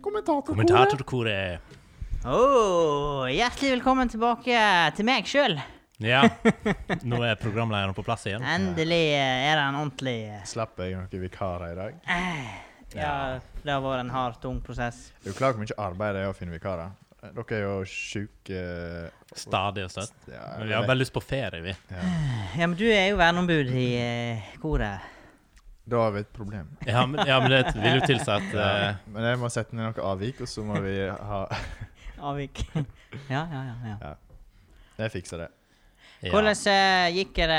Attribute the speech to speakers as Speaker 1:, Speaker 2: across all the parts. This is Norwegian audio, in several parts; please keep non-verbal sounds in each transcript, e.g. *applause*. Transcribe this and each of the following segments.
Speaker 1: Kommentatorkoret.
Speaker 2: Kommentatorkoret.
Speaker 3: Oh, hjertelig velkommen tilbake til meg sjøl.
Speaker 2: Ja. Nå er programlederen på plass igjen.
Speaker 3: Endelig er det en ordentlig eh,
Speaker 1: Slipper jeg noen vikarer i dag?
Speaker 3: Ja, det har vært en hard, tung prosess.
Speaker 1: Er du klar over hvor mye arbeid det er å finne vikarer? Eh, Dere er jo eh, sjuke
Speaker 2: Stadig og støtt.
Speaker 1: ja,
Speaker 2: Men vi har bare lyst på ferie, vi.
Speaker 3: Ja, men du er jo verneombud i eh, koret.
Speaker 1: Da har vi et problem.
Speaker 2: Ja, men, ja, men det vil jo tilsi at eh,
Speaker 1: Men jeg må sette ned noe avvik, og så må vi ha *laughs*
Speaker 3: Avvik. Ja, ja, ja. ja.
Speaker 1: Jeg fikser det.
Speaker 2: ja.
Speaker 3: Hvordan eh, gikk det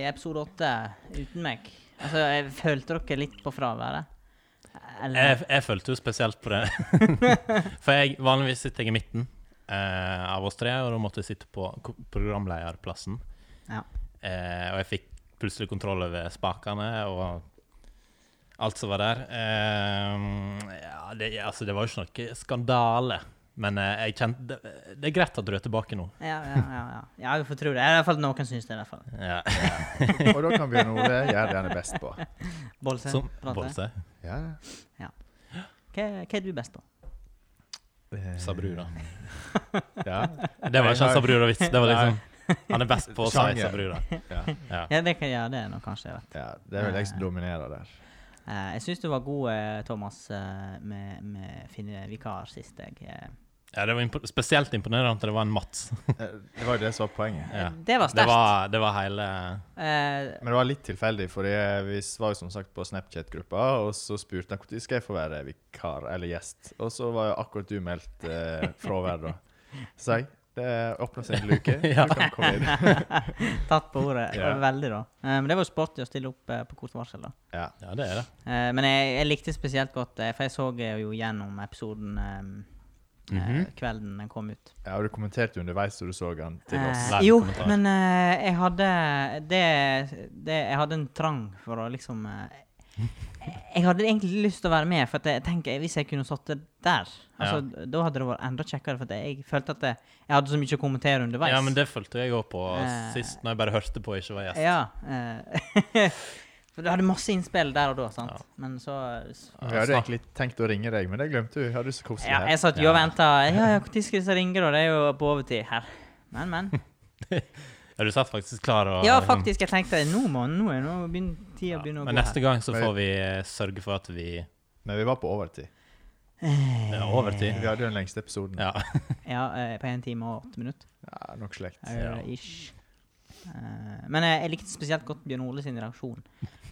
Speaker 3: i episode åtte uten meg? Altså, jeg følte dere litt på fraværet?
Speaker 2: jeg, jeg følte jo spesielt på det. *laughs* For jeg, vanligvis sitter jeg i midten eh, av oss tre, og da måtte jeg sitte på ko- programlederplassen.
Speaker 3: Ja.
Speaker 2: Eh, og jeg fikk plutselig kontroll over spakene og alt som var der. Eh, ja, det, altså, det var jo ikke noe skandale, men eh, jeg kjente det, det er greit at du er tilbake nå.
Speaker 3: Ja, ja, ja. ja. ja jeg får tro det. I hvert fall noen syns det. i hvert fall.
Speaker 2: Ja.
Speaker 1: Og da kan Bjørn Ole gjøre det han er best på.
Speaker 3: Bolse,
Speaker 2: *laughs* Som
Speaker 3: prate.
Speaker 2: Bolse,
Speaker 1: Ja,
Speaker 3: Hva, hva er du best på?
Speaker 1: Eh,
Speaker 2: sa brura.
Speaker 1: ja.
Speaker 2: Det var ikke en sa brura-vits. Det var liksom Han er best på å si
Speaker 1: Sjanger.
Speaker 2: sa brura.
Speaker 1: ja.
Speaker 2: Ja.
Speaker 3: Ja, det kan jeg gjøre det nå, kanskje. jeg vet.
Speaker 1: ja. Det er vel jeg som dominerer der.
Speaker 3: Eh, jeg syns du var god, eh, Thomas, eh, med, med finne vikar sist jeg eh.
Speaker 2: Ja, det var impo spesielt imponerende at det var en Mats.
Speaker 1: Eh, Det var jo det som var poenget.
Speaker 2: Ja.
Speaker 3: Det var
Speaker 2: Det
Speaker 3: sterkt.
Speaker 2: var, det var hele
Speaker 3: Eh,
Speaker 1: Men det var litt tilfeldig, for vi var jo som sagt på Snapchat-gruppa, og så spurte han når skal jeg få være vikar eller gjest. Og så var jo akkurat du meldt eh, fravær da. Så sa jeg det åpner seg en
Speaker 3: *laughs*
Speaker 1: luke,
Speaker 2: Ja.
Speaker 1: du kan komme inn.
Speaker 3: tatt på ordet. Det
Speaker 1: Ja.
Speaker 3: var Veldig, da. Eh, men det var jo sporty å stille opp eh, på kort varsel, da.
Speaker 1: Ja.
Speaker 2: Ja, det er det.
Speaker 3: Eh, men jeg, jeg likte spesielt godt, eh, for jeg så eh, jo gjennom episoden eh, eh, kvelden den kom ut.
Speaker 1: ja, og du kommenterte jo underveis, så du så han til oss.
Speaker 3: Eh,
Speaker 2: Live
Speaker 3: jo,
Speaker 2: kommentar.
Speaker 3: men eh, jeg hadde det, det Jeg hadde en trang for å liksom eh, Jeg hadde egentlig lyst til å være med, for at jeg tenker, hvis jeg kunne satt det der, altså, da hadde det vært enda kjekkere. For at jeg følte at jeg, jeg hadde så mye å kommentere underveis.
Speaker 2: Ja, men det fulgte jeg òg på
Speaker 3: Eh.
Speaker 2: sist, når jeg bare hørte på og ikke var gjest.
Speaker 3: Ja, eh, *laughs* for du hadde masse innspill der og da, sant?
Speaker 2: Ja.
Speaker 3: Men så
Speaker 2: Ja,
Speaker 1: Vi hadde
Speaker 2: snakk-
Speaker 1: egentlig tenkt å ringe deg, men det glemte du. Hadde du så koselig
Speaker 3: ja,
Speaker 1: her.
Speaker 3: Jeg satt jo og venta. Ja, ja, når skal disse ringe, da? Det er jo på overtid her. Men, men.
Speaker 2: *laughs* ja, du satt faktisk klar og
Speaker 3: Ja,
Speaker 2: liksom-
Speaker 3: faktisk. Jeg tenkte nå må nå er nå begynner tida
Speaker 2: Ja,
Speaker 3: begynner å
Speaker 2: Men Mm.
Speaker 3: gå.
Speaker 2: neste
Speaker 3: her.
Speaker 2: gang så får vi eh, sørge for at vi
Speaker 1: Men vi var på overtid.
Speaker 2: er overtid.
Speaker 1: Vi hadde jo den lengste episoden.
Speaker 2: Ja.
Speaker 3: Eh, Ja, eh, på en time og åtte minutter.
Speaker 1: Ja, nok slekt.
Speaker 3: Eh,
Speaker 2: Ja.
Speaker 3: Ish. Eh, Men jeg, jeg likte spesielt godt Bjørn Ole sin reaksjon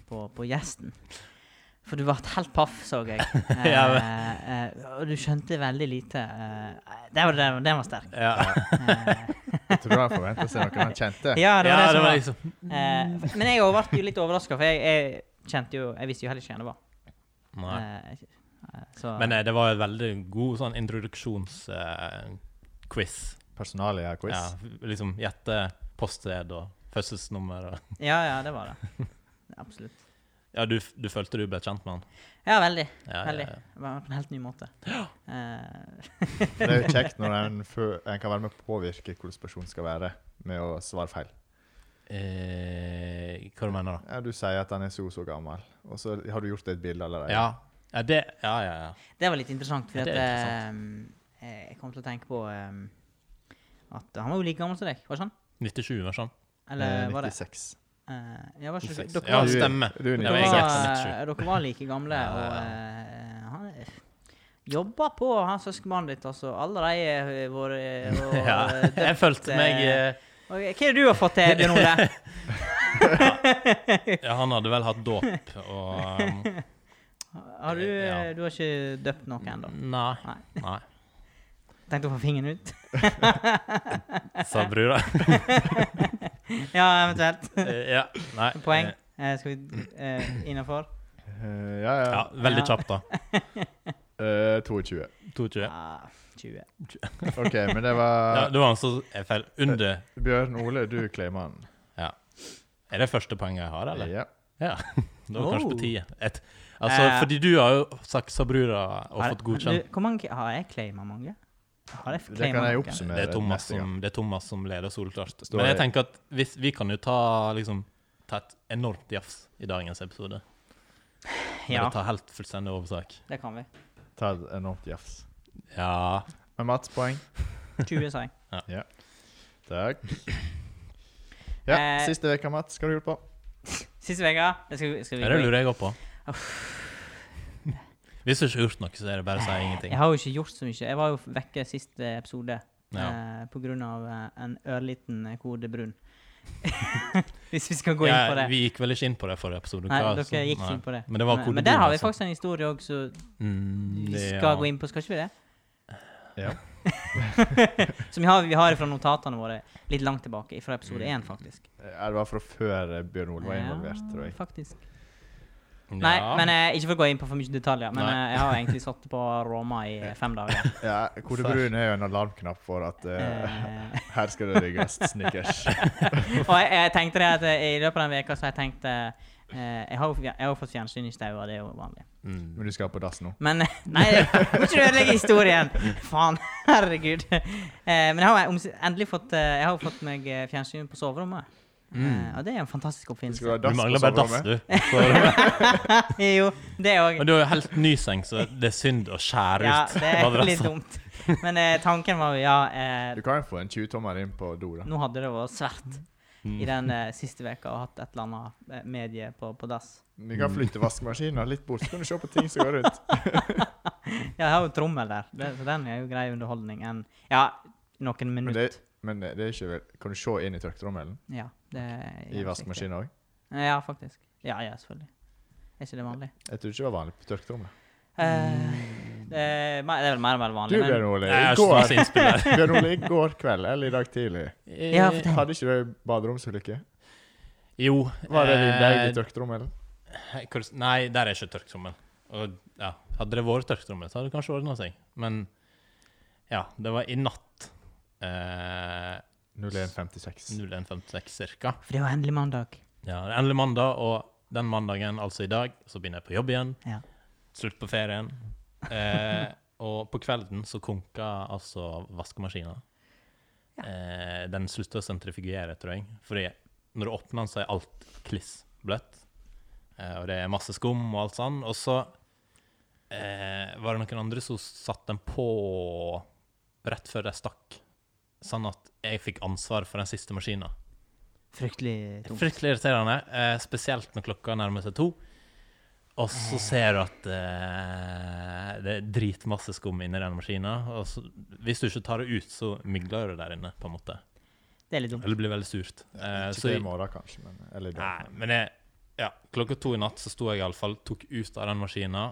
Speaker 3: på, på gjesten. For du ble helt paff, så
Speaker 2: *laughs*
Speaker 3: jeg. Eh,
Speaker 2: Ja,
Speaker 3: eh, og du skjønte veldig lite. eh, det var, den, den var
Speaker 2: *laughs*
Speaker 3: sterk.
Speaker 2: Ja.
Speaker 3: Eh,
Speaker 1: Jeg tror han forventa seg noen han kjente.
Speaker 3: ja, det var
Speaker 2: ja,
Speaker 3: det som
Speaker 2: det var
Speaker 3: var.
Speaker 2: liksom
Speaker 3: Eh, f- men jeg ble jo litt overraska, for jeg, jeg kjente jo Jeg visste jo heller ikke hvem det var.
Speaker 2: Nei.
Speaker 3: Eh, eh, så
Speaker 2: Men eh, det var en veldig god sånn introduksjonsquiz.
Speaker 1: Personalia-quiz.
Speaker 2: Ja, liksom gjette poststed og fødselsnummer og
Speaker 3: Ja, ja, det var det.
Speaker 2: *laughs*
Speaker 3: Absolutt.
Speaker 2: Ja, du, f- du følte du ble kjent med han?
Speaker 3: Ja, veldig.
Speaker 2: Ja,
Speaker 3: veldig.
Speaker 2: ja, ja.
Speaker 3: Det var På en helt ny måte. Eh,
Speaker 1: Det er jo kjekt når en, fø- en kan være med å påvirke hvordan personen skal være, med å svare feil.
Speaker 2: Eh, hva du mener du?
Speaker 1: Ja, du sier at han er så og så gammel, og så har du gjort deg et bilde allerede.
Speaker 2: Ja. Ja, det, ja, ja, ja.
Speaker 3: det var litt interessant, for
Speaker 2: Ja,
Speaker 3: at,
Speaker 2: det er
Speaker 3: eh, jeg kom til å tenke på eh, at han var jo like gammel som deg, var ikke han?
Speaker 2: 97 var sånn.
Speaker 3: Eller
Speaker 1: Eh,
Speaker 3: var det
Speaker 1: 96.
Speaker 3: eh, ja, var ikke, dere-
Speaker 2: 96.
Speaker 3: dere,
Speaker 2: Ja,
Speaker 3: var,
Speaker 1: du-
Speaker 2: stemmer.
Speaker 1: du er
Speaker 2: Ja,
Speaker 3: dere,
Speaker 2: men jeg
Speaker 3: var,
Speaker 2: gjetter 97.
Speaker 3: eh, dere var like gamle,
Speaker 2: Ja, ja,
Speaker 3: og
Speaker 2: ja.
Speaker 3: eh, han eh, jobba på, han søskenbarnet ditt, altså. Allerede
Speaker 2: *laughs*
Speaker 3: vært *laughs* og eh,
Speaker 2: Ja, jeg følte meg eh,
Speaker 3: Ok, Hva er det du har fått til, Bjørn Ole?
Speaker 2: eh, ja, Han hadde vel hatt
Speaker 3: *laughs*
Speaker 2: dåp og um,
Speaker 3: Har du,
Speaker 2: *laughs*
Speaker 3: eh,
Speaker 2: Ja.
Speaker 3: du har ikke døpt noe ennå?
Speaker 2: um, Nei. nei.
Speaker 3: *laughs* Tenkte å få fingeren
Speaker 2: *laughs*
Speaker 3: ut?
Speaker 2: Sa brura.
Speaker 3: *laughs* ja, eventuelt.
Speaker 2: Eh, *laughs* Ja, nei.
Speaker 3: Poeng.
Speaker 2: Eh,
Speaker 3: Eh, skal vi eh,
Speaker 2: *clears throat*
Speaker 3: innafor?
Speaker 1: Eh, ja, ja.
Speaker 2: Ja, Veldig
Speaker 3: Ja.
Speaker 2: kjapt,
Speaker 3: *laughs*
Speaker 2: da.
Speaker 1: Eh, 22.
Speaker 2: 22.
Speaker 3: Ah, 20.
Speaker 1: OK, men det
Speaker 2: *laughs* Ja,
Speaker 1: var
Speaker 2: det var han som jeg feil. Under
Speaker 1: Bjørn Ole, du claimer han.
Speaker 2: Er det første poenget jeg har, eller?
Speaker 1: Ja.
Speaker 2: Ja. *laughs* Det var kanskje
Speaker 3: Oh.
Speaker 2: på tide. Et, altså,
Speaker 3: Eh.
Speaker 2: fordi du har jo sagt sa brura og
Speaker 3: Har-
Speaker 2: fått godkjent.
Speaker 3: Du, Hvor mange har jeg claima mange? Har jeg
Speaker 1: Det kan
Speaker 3: claimet
Speaker 1: jeg
Speaker 3: noen?
Speaker 1: oppsummere
Speaker 2: Det er Thomas
Speaker 1: neste gang.
Speaker 2: som, det er Thomas som leder soleklart.
Speaker 1: Står
Speaker 2: Men jeg
Speaker 1: det-
Speaker 2: tenker at hvis, vi kan jo ta liksom ta et enormt jafs i dagens episode. Bare
Speaker 3: Ja,
Speaker 2: ta helt fullstendig oversak.
Speaker 3: det kan vi.
Speaker 1: Ta et enormt jafs.
Speaker 2: Ja.
Speaker 1: Men Mats, poeng.
Speaker 3: 20, sa jeg.
Speaker 1: Takk. Ja,
Speaker 3: Eh.
Speaker 1: siste uka, Mats, skal du hjelpe på?
Speaker 3: Siste uke skal, skal vi
Speaker 2: Det
Speaker 3: gå i-
Speaker 2: lurer jeg òg på. Hvis du ikke har gjort noe, så er det bare å si ingenting.
Speaker 3: Jeg har jo ikke gjort så mye. Jeg var jo vekke sist eh, episode
Speaker 2: Ja.
Speaker 3: eh, på grunn av eh, en ørliten eh, kode
Speaker 2: *laughs*
Speaker 3: brun. Hvis vi skal gå inn
Speaker 2: Ja,
Speaker 3: på det.
Speaker 2: Vi gikk vel ikke inn på det forrige episode.
Speaker 3: Nei,
Speaker 2: hva-
Speaker 3: dere gikk
Speaker 2: så- nei.
Speaker 3: ikke inn på det.
Speaker 2: Men det var
Speaker 3: Nei,
Speaker 2: kodebrun,
Speaker 3: men der har vi
Speaker 2: altså.
Speaker 3: faktisk en historie òg som
Speaker 2: Mm,
Speaker 3: vi
Speaker 2: det-
Speaker 3: skal
Speaker 2: ja.
Speaker 3: gå inn på, skal ikke vi det? *laughs*
Speaker 1: Ja. *laughs*
Speaker 3: Som vi har, vi har fra notatene våre litt langt tilbake, fra episode én, faktisk.
Speaker 1: Ja, det var fra før eh, Bjørn Ole Mm. var involvert, tror jeg.
Speaker 3: faktisk.
Speaker 2: Ja.
Speaker 3: Nei, men eh, ikke for å gå inn på for mye detaljer, men eh,
Speaker 2: Nei.
Speaker 3: jeg har egentlig sittet på Roma i eh, fem dager.
Speaker 1: *laughs* Ja, Kode brun er jo en alarmknapp for at eh,
Speaker 3: Eh,
Speaker 1: her skal det rigges snickers.
Speaker 3: og jeg, jeg tenkte det at eh, i løpet av den veka så har jeg tenkt eh, eh, jeg, har, jo fj- jeg har jo fått fjernsyn i staua, det er jo vanlig.
Speaker 2: Mm.
Speaker 1: Men du skal på dass nå.
Speaker 3: Men *laughs* eh, Nei, jeg må ikke du ødelegge historien! Faen. *laughs* Herregud. Eh, men jeg har jo oms- endelig fått eh, Jeg har jo fått meg eh, fjernsyn på soverommet. Eh, og det er jo en fantastisk
Speaker 1: Skal du
Speaker 3: oppfinnelse.
Speaker 2: Du
Speaker 1: ha dass
Speaker 2: mangler
Speaker 1: på
Speaker 2: bare dass,
Speaker 1: soverommet?
Speaker 2: du. Så-
Speaker 3: *laughs* jo, det òg.
Speaker 2: Men du har jo helt ny seng, så det er synd å skjære
Speaker 3: Ja,
Speaker 2: ut
Speaker 3: det er
Speaker 2: madrassen.
Speaker 3: litt dumt. Men eh, tanken var jo, ja eh,
Speaker 1: Du kan jo få en 20-tommer inn på do, da.
Speaker 3: Nå hadde det vært svært i
Speaker 2: Mm.
Speaker 3: den eh, siste veka og hatt et eller annet eh, medie på, på dass.
Speaker 1: Vi kan flytte vaskemaskinen litt bort, så kan du se på ting som går rundt.
Speaker 3: Ja, jeg har jo trommel der, det, så den er jo grei underholdning enn Ja, noen
Speaker 1: Men
Speaker 3: minutter.
Speaker 1: det, men det er ikke vel Kan du se inn i tørketrommelen?
Speaker 3: Ja, det er
Speaker 1: I vaskemaskinen òg?
Speaker 3: riktig. Ja, faktisk. Ja, ja, selvfølgelig. Er ikke det vanlig?
Speaker 1: Jeg tror ikke det var vanlig på tørketrommel.
Speaker 3: Eh, det, er, me- det er vel mer og mer
Speaker 1: Du,
Speaker 3: vanlig.
Speaker 1: Bjørn Ole,
Speaker 2: Jeg har
Speaker 1: i
Speaker 2: ikke så
Speaker 1: går,
Speaker 2: masse innspill der.
Speaker 1: *laughs* Bjørn Ole, i går kveld eller i dag tidlig
Speaker 3: Ja, for det-
Speaker 1: Hadde ikke du baderomsulykke?
Speaker 2: Jo.
Speaker 1: Var det din deg i
Speaker 2: eh,
Speaker 1: tørketrommelen?
Speaker 2: hvor- Nei, der er ikke tørketrommel. Og, ja, hadde det vært tørketrommel, så hadde det kanskje ordna seg. Men ja, det var i natt. Eh,
Speaker 1: 0156.
Speaker 2: 01.56 cirka.
Speaker 3: For det er jo endelig mandag.
Speaker 2: Ja, det er endelig mandag, og den mandagen, altså i dag, så begynner jeg på jobb igjen.
Speaker 3: Ja.
Speaker 2: Slutt på ferien. Eh, og på kvelden så konka altså vaskemaskina. Eh, den slutta å sentrifugere, tror jeg. Fordi når du åpner den, så er alt klissbløtt. Eh, og det er masse skum og alt sånn. Og så eh, var det noen andre som satte den på rett før de stakk. Sånn at jeg fikk ansvar for den siste maskina.
Speaker 3: Fryktelig tungt.
Speaker 2: Fryktelig irriterende, eh, spesielt når klokka nærmer seg to. Og så ser du at eh, det er dritmasse skum inni den maskina. Og så, hvis du ikke tar det ut, så mygler det der inne, på en måte.
Speaker 3: Det er litt dumt.
Speaker 2: Eller det blir veldig surt. Eh,
Speaker 1: Ikke
Speaker 2: så,
Speaker 1: det i morgen, kanskje, men eller
Speaker 2: nei,
Speaker 1: i dag.
Speaker 2: men jeg, ja, klokka to i natt så sto jeg iallfall, tok ut av den maskina,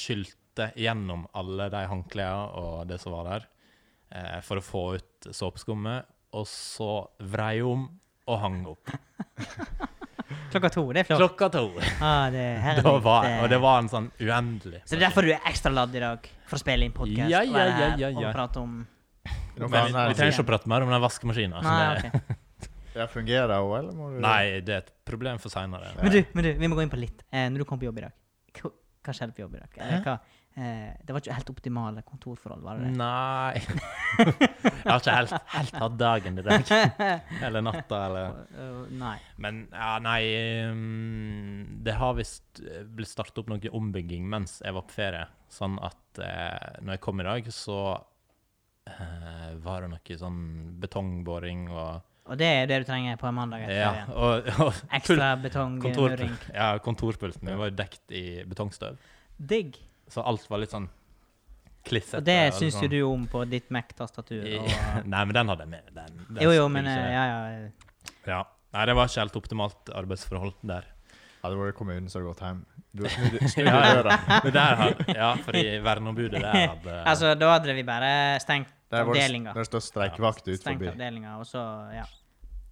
Speaker 2: skylte gjennom alle de håndklærne og det som var der, eh, for å få ut såpeskummet, og så vrei om og hang opp.
Speaker 3: Klokka to, det er flott.
Speaker 2: Klokka to.
Speaker 3: Ah, det er herlig.
Speaker 2: Da var, og det var en sånn uendelig
Speaker 3: Så det er derfor du er ekstra ladd i dag, for å spille inn podkast
Speaker 2: Ja, ja, ja, ja,
Speaker 3: og
Speaker 2: ja.
Speaker 3: prate om
Speaker 1: Noe
Speaker 2: Men vi, vi
Speaker 1: annet?
Speaker 2: trenger ikke å prate mer om den vaskemaskinen. så
Speaker 3: Nei,
Speaker 2: Altså, det,
Speaker 3: Ah, ok.
Speaker 1: Ja, fungerer hun, eller må du
Speaker 2: nei, det er et problem for seinere.
Speaker 3: Men du, men du, vi må gå inn på litt. Eh, når du kom på jobb i dag, hva hva skjedde på jobb i dag? Eller, hva, eh, det var ikke helt optimale kontorforhold, var det
Speaker 2: Mm.
Speaker 3: det? *laughs*
Speaker 2: Nei Jeg har ikke helt, helt hatt dagen i dag.
Speaker 3: *laughs*
Speaker 2: Eller natta, eller
Speaker 3: Eh, nei.
Speaker 2: Men ja, nei ehm, Det har visst blitt startet opp noe ombygging mens jeg var på ferie. Sånn at eh, når jeg kom i dag, så eh, var det noe sånn betongboring og
Speaker 3: Og det er det du trenger på en mandag etter
Speaker 2: Ja,
Speaker 3: ferien.
Speaker 2: og, og
Speaker 3: Ekstra betongmuring.
Speaker 2: Kontor, *laughs* ja, kontorpulten min var jo dekt i betongstøv.
Speaker 3: Digg.
Speaker 2: Så alt var litt sånn klissete.
Speaker 3: Og det
Speaker 2: og
Speaker 3: syns
Speaker 2: liksom-
Speaker 3: jo du om på ditt Mac-tastatur. og-
Speaker 2: *laughs* Nei, men den hadde jeg med. Den, den
Speaker 3: Jo, jo,
Speaker 2: skulle
Speaker 3: men
Speaker 2: ikke-
Speaker 3: eh, ja, ja.
Speaker 2: ja. Nei, det var ikke helt optimalt arbeidsforhold
Speaker 1: *laughs*
Speaker 2: der.
Speaker 1: Hadde det vært kommunen, så hadde du gått hjem. Du har
Speaker 2: *laughs*
Speaker 1: snudd snudd
Speaker 2: Ja.
Speaker 1: døra.
Speaker 2: Men der hadde, ja, fordi verneombudet
Speaker 3: *laughs*
Speaker 2: der hadde
Speaker 3: Altså, da hadde vi bare stengt
Speaker 1: Der var det,
Speaker 3: avdelinga.
Speaker 1: der står streikevakt ut
Speaker 3: Stengt
Speaker 1: forbi.
Speaker 3: avdelinga, og så, ja.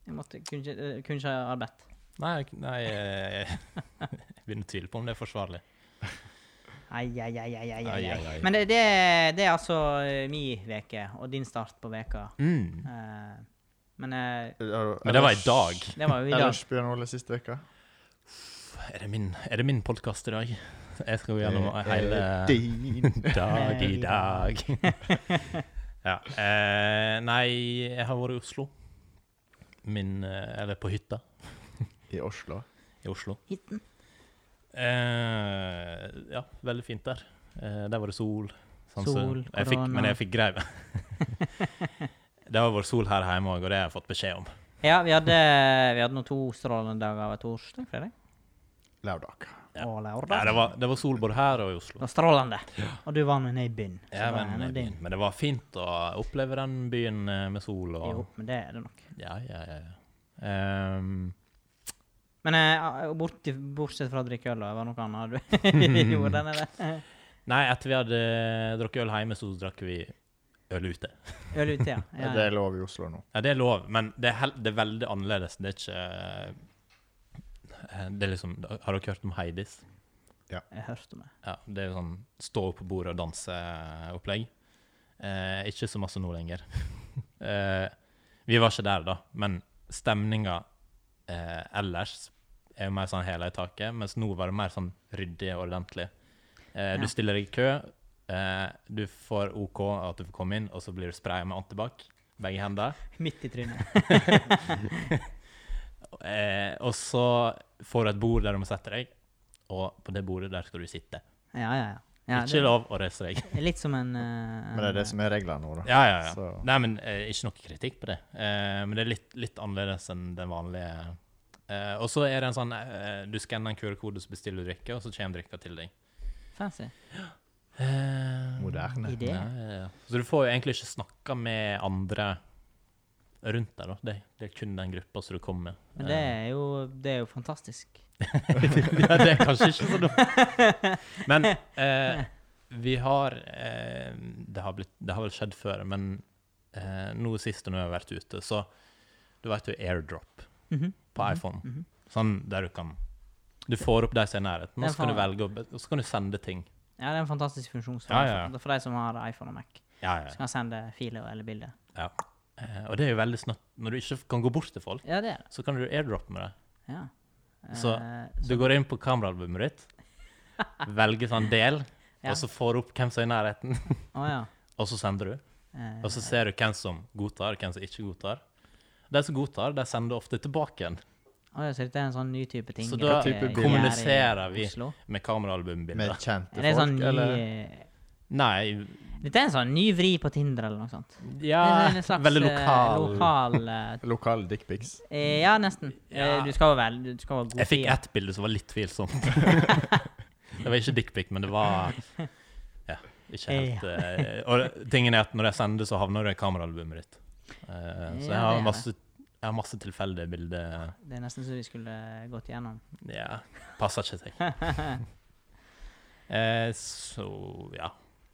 Speaker 3: Jeg måtte, kunne ikke eh, kunne ikke ha arbeidet.
Speaker 2: Nei, nei eh, *laughs* jeg begynner å tvile på om det er forsvarlig.
Speaker 3: Ai, ai, ai, ai, ai, ai,
Speaker 2: Ai, ai,
Speaker 3: ai.
Speaker 2: ai.
Speaker 3: Men det, det, det er altså eh, mi veke, og din start på veka.
Speaker 2: Mm.
Speaker 3: Eh, men eh,
Speaker 2: Men det var i dag.
Speaker 3: det var jo i dag.
Speaker 1: Ellers, Bjørn Ole, siste uka?
Speaker 2: Er det min, er det min podkast i dag? Jeg skal gå gjennom
Speaker 1: Eh, eh,
Speaker 2: hele *laughs*
Speaker 1: Din.
Speaker 2: Dag i
Speaker 3: Eh, *laughs*
Speaker 2: dag. ja. Eh, nei, jeg har vært i Oslo. Min eh, Eller på hytta
Speaker 1: I Oslo.
Speaker 2: i Oslo.
Speaker 3: Hitten.
Speaker 2: Eh, ja, veldig fint der. Eh, der var det sol. Sånn,
Speaker 3: Sol,
Speaker 2: så jeg fikk,
Speaker 3: korona.
Speaker 2: men jeg fikk greie *laughs* Det har vært sol her hjemme òg, og det har jeg fått beskjed om.
Speaker 3: Ja, vi hadde, vi hadde nå to strålende dager hver torsdag, fredag
Speaker 1: Lørdag.
Speaker 2: Ja.
Speaker 3: og lørdag.
Speaker 2: Nei, det, var, det var sol både her og i Oslo.
Speaker 3: Det var strålende. Og du var med ned i byen. så
Speaker 2: Ja,
Speaker 3: det var en
Speaker 2: men,
Speaker 3: av din.
Speaker 2: men det var fint å oppleve den byen eh, med sol og
Speaker 3: Jo, men det er det nok.
Speaker 2: Ja, ja, ja. ja. Ehm,
Speaker 3: Men eh, bort, bortsett fra å drikke øl, da, var det noe annet du *laughs* gjorde? den, eller?
Speaker 2: nei, etter vi hadde drukket øl hjemme, så drakk vi øl ute.
Speaker 3: Øl
Speaker 2: *laughs*
Speaker 3: ute, ja. ja,
Speaker 1: Det
Speaker 3: ja.
Speaker 1: er lov i Oslo nå.
Speaker 2: Ja, det er lov, men det er, hel det er veldig annerledes. Det er ikke eh, Det er liksom Har dere hørt om Heidis?
Speaker 3: Jeg hørte om det.
Speaker 2: Ja, det er jo sånn stå opp på bordet og danse-opplegg. Eh, ikke så masse nå lenger. *laughs* eh, vi var ikke der, da, men stemninga eh, ellers er jo mer sånn hæla i taket, mens nå var det mer sånn ryddig og ordentlig. Eh,
Speaker 3: Ja.
Speaker 2: Du stiller deg i kø, eh, du får OK at du får komme inn, og så blir du spraya med antibac begge hender.
Speaker 3: Midt i
Speaker 2: *laughs*
Speaker 3: trynet.
Speaker 2: Eh, og så får du et bord der du må sette deg, og på det bordet der skal du sitte.
Speaker 3: Ja, ja, ja. ja
Speaker 2: ikke lov å reise deg.
Speaker 3: det er litt som en eh,
Speaker 1: Men det er det som er reglene nå, da.
Speaker 2: Ja, ja, ja.
Speaker 1: Så-
Speaker 2: Nei, men eh, ikke noe kritikk på det. Eh, men det er litt, litt annerledes enn den vanlige. Eh, og så er det en sånn eh, Du skanner en QR-kode, så bestiller du drikke, og så kommer drikka til deg.
Speaker 3: Fancy.
Speaker 2: Eh,
Speaker 1: Moderne.
Speaker 3: Idé.
Speaker 2: Ja, ja, ja. Så du får jo egentlig ikke snakka med andre rundt deg, da. Det, det er kun den gruppa som du kommer med.
Speaker 3: Men det er jo, det er jo
Speaker 2: *laughs*
Speaker 3: fantastisk.
Speaker 2: Eh, ja, det er kanskje ikke så dumt. Men eh, vi har eh, det, har blitt, det har vel skjedd før, men eh, nå sist når jeg har vært ute, så du vet jo airdrop
Speaker 3: Mhm.
Speaker 2: på iPhone. Sånn der du kan Du får opp de som er i nærheten, og så kan
Speaker 3: Den
Speaker 2: du
Speaker 3: får-
Speaker 2: velge å be- og så kan du sende ting.
Speaker 3: Ja, det er en fantastisk funksjon for,
Speaker 2: Ja, ja, ja.
Speaker 3: for de som har iPhone og Mac.
Speaker 2: Ja, ja,
Speaker 3: Så kan jeg sende filer eller bilder.
Speaker 2: ja. Eh, og det er jo veldig snart Når du ikke kan gå bort til folk,
Speaker 3: Ja, det er det.
Speaker 2: så kan du airdroppe med det.
Speaker 3: Ja.
Speaker 2: Så
Speaker 3: Eh,
Speaker 2: Du går inn på kameraalbumet ditt, velger sånn del,
Speaker 3: Ja.
Speaker 2: og så får du opp hvem som er i nærheten, *laughs*
Speaker 3: Å ja.
Speaker 2: og så sender du.
Speaker 3: Eh,
Speaker 2: Og så ser du hvem som godtar, og hvem som ikke godtar. De som godtar, de sender ofte tilbake igjen.
Speaker 3: å ja, så dette er en sånn ny type ting?
Speaker 2: Så
Speaker 3: dere
Speaker 2: da
Speaker 1: type
Speaker 3: gjør i
Speaker 2: kommuniserer vi.
Speaker 3: Oslo?
Speaker 2: Med
Speaker 1: Med
Speaker 2: kameraalbumbilder.
Speaker 1: kjente
Speaker 3: Er det en sånn
Speaker 1: folk,
Speaker 3: ny
Speaker 1: eller?
Speaker 2: Nei
Speaker 3: Dette er en sånn ny vri på Tinder eller noe sånt.
Speaker 2: Ja,
Speaker 3: Det er en slags,
Speaker 2: veldig
Speaker 3: eh,
Speaker 2: lokal.
Speaker 3: lokal eh,
Speaker 1: Lokale dickpics.
Speaker 3: eh, ja, nesten. Eh,
Speaker 2: Ja.
Speaker 3: Du skal jo være, du skal være god
Speaker 2: Jeg fikk
Speaker 3: tid.
Speaker 2: ett bilde som var litt tvilsomt.
Speaker 3: *laughs*
Speaker 2: det var ikke dickpic, men det var Ja, ikke helt eh, Og tingen er at når jeg sender, så havner det i kameraalbumet ditt. Eh,
Speaker 3: Ja,
Speaker 2: så jeg
Speaker 3: det er
Speaker 2: har
Speaker 3: det.
Speaker 2: masse, jeg har masse tilfeldige bilder.
Speaker 3: Det er nesten så vi skulle eh, gått gjennom.
Speaker 2: Ja, passer ikke til.
Speaker 3: *laughs*
Speaker 2: Eh, så ja.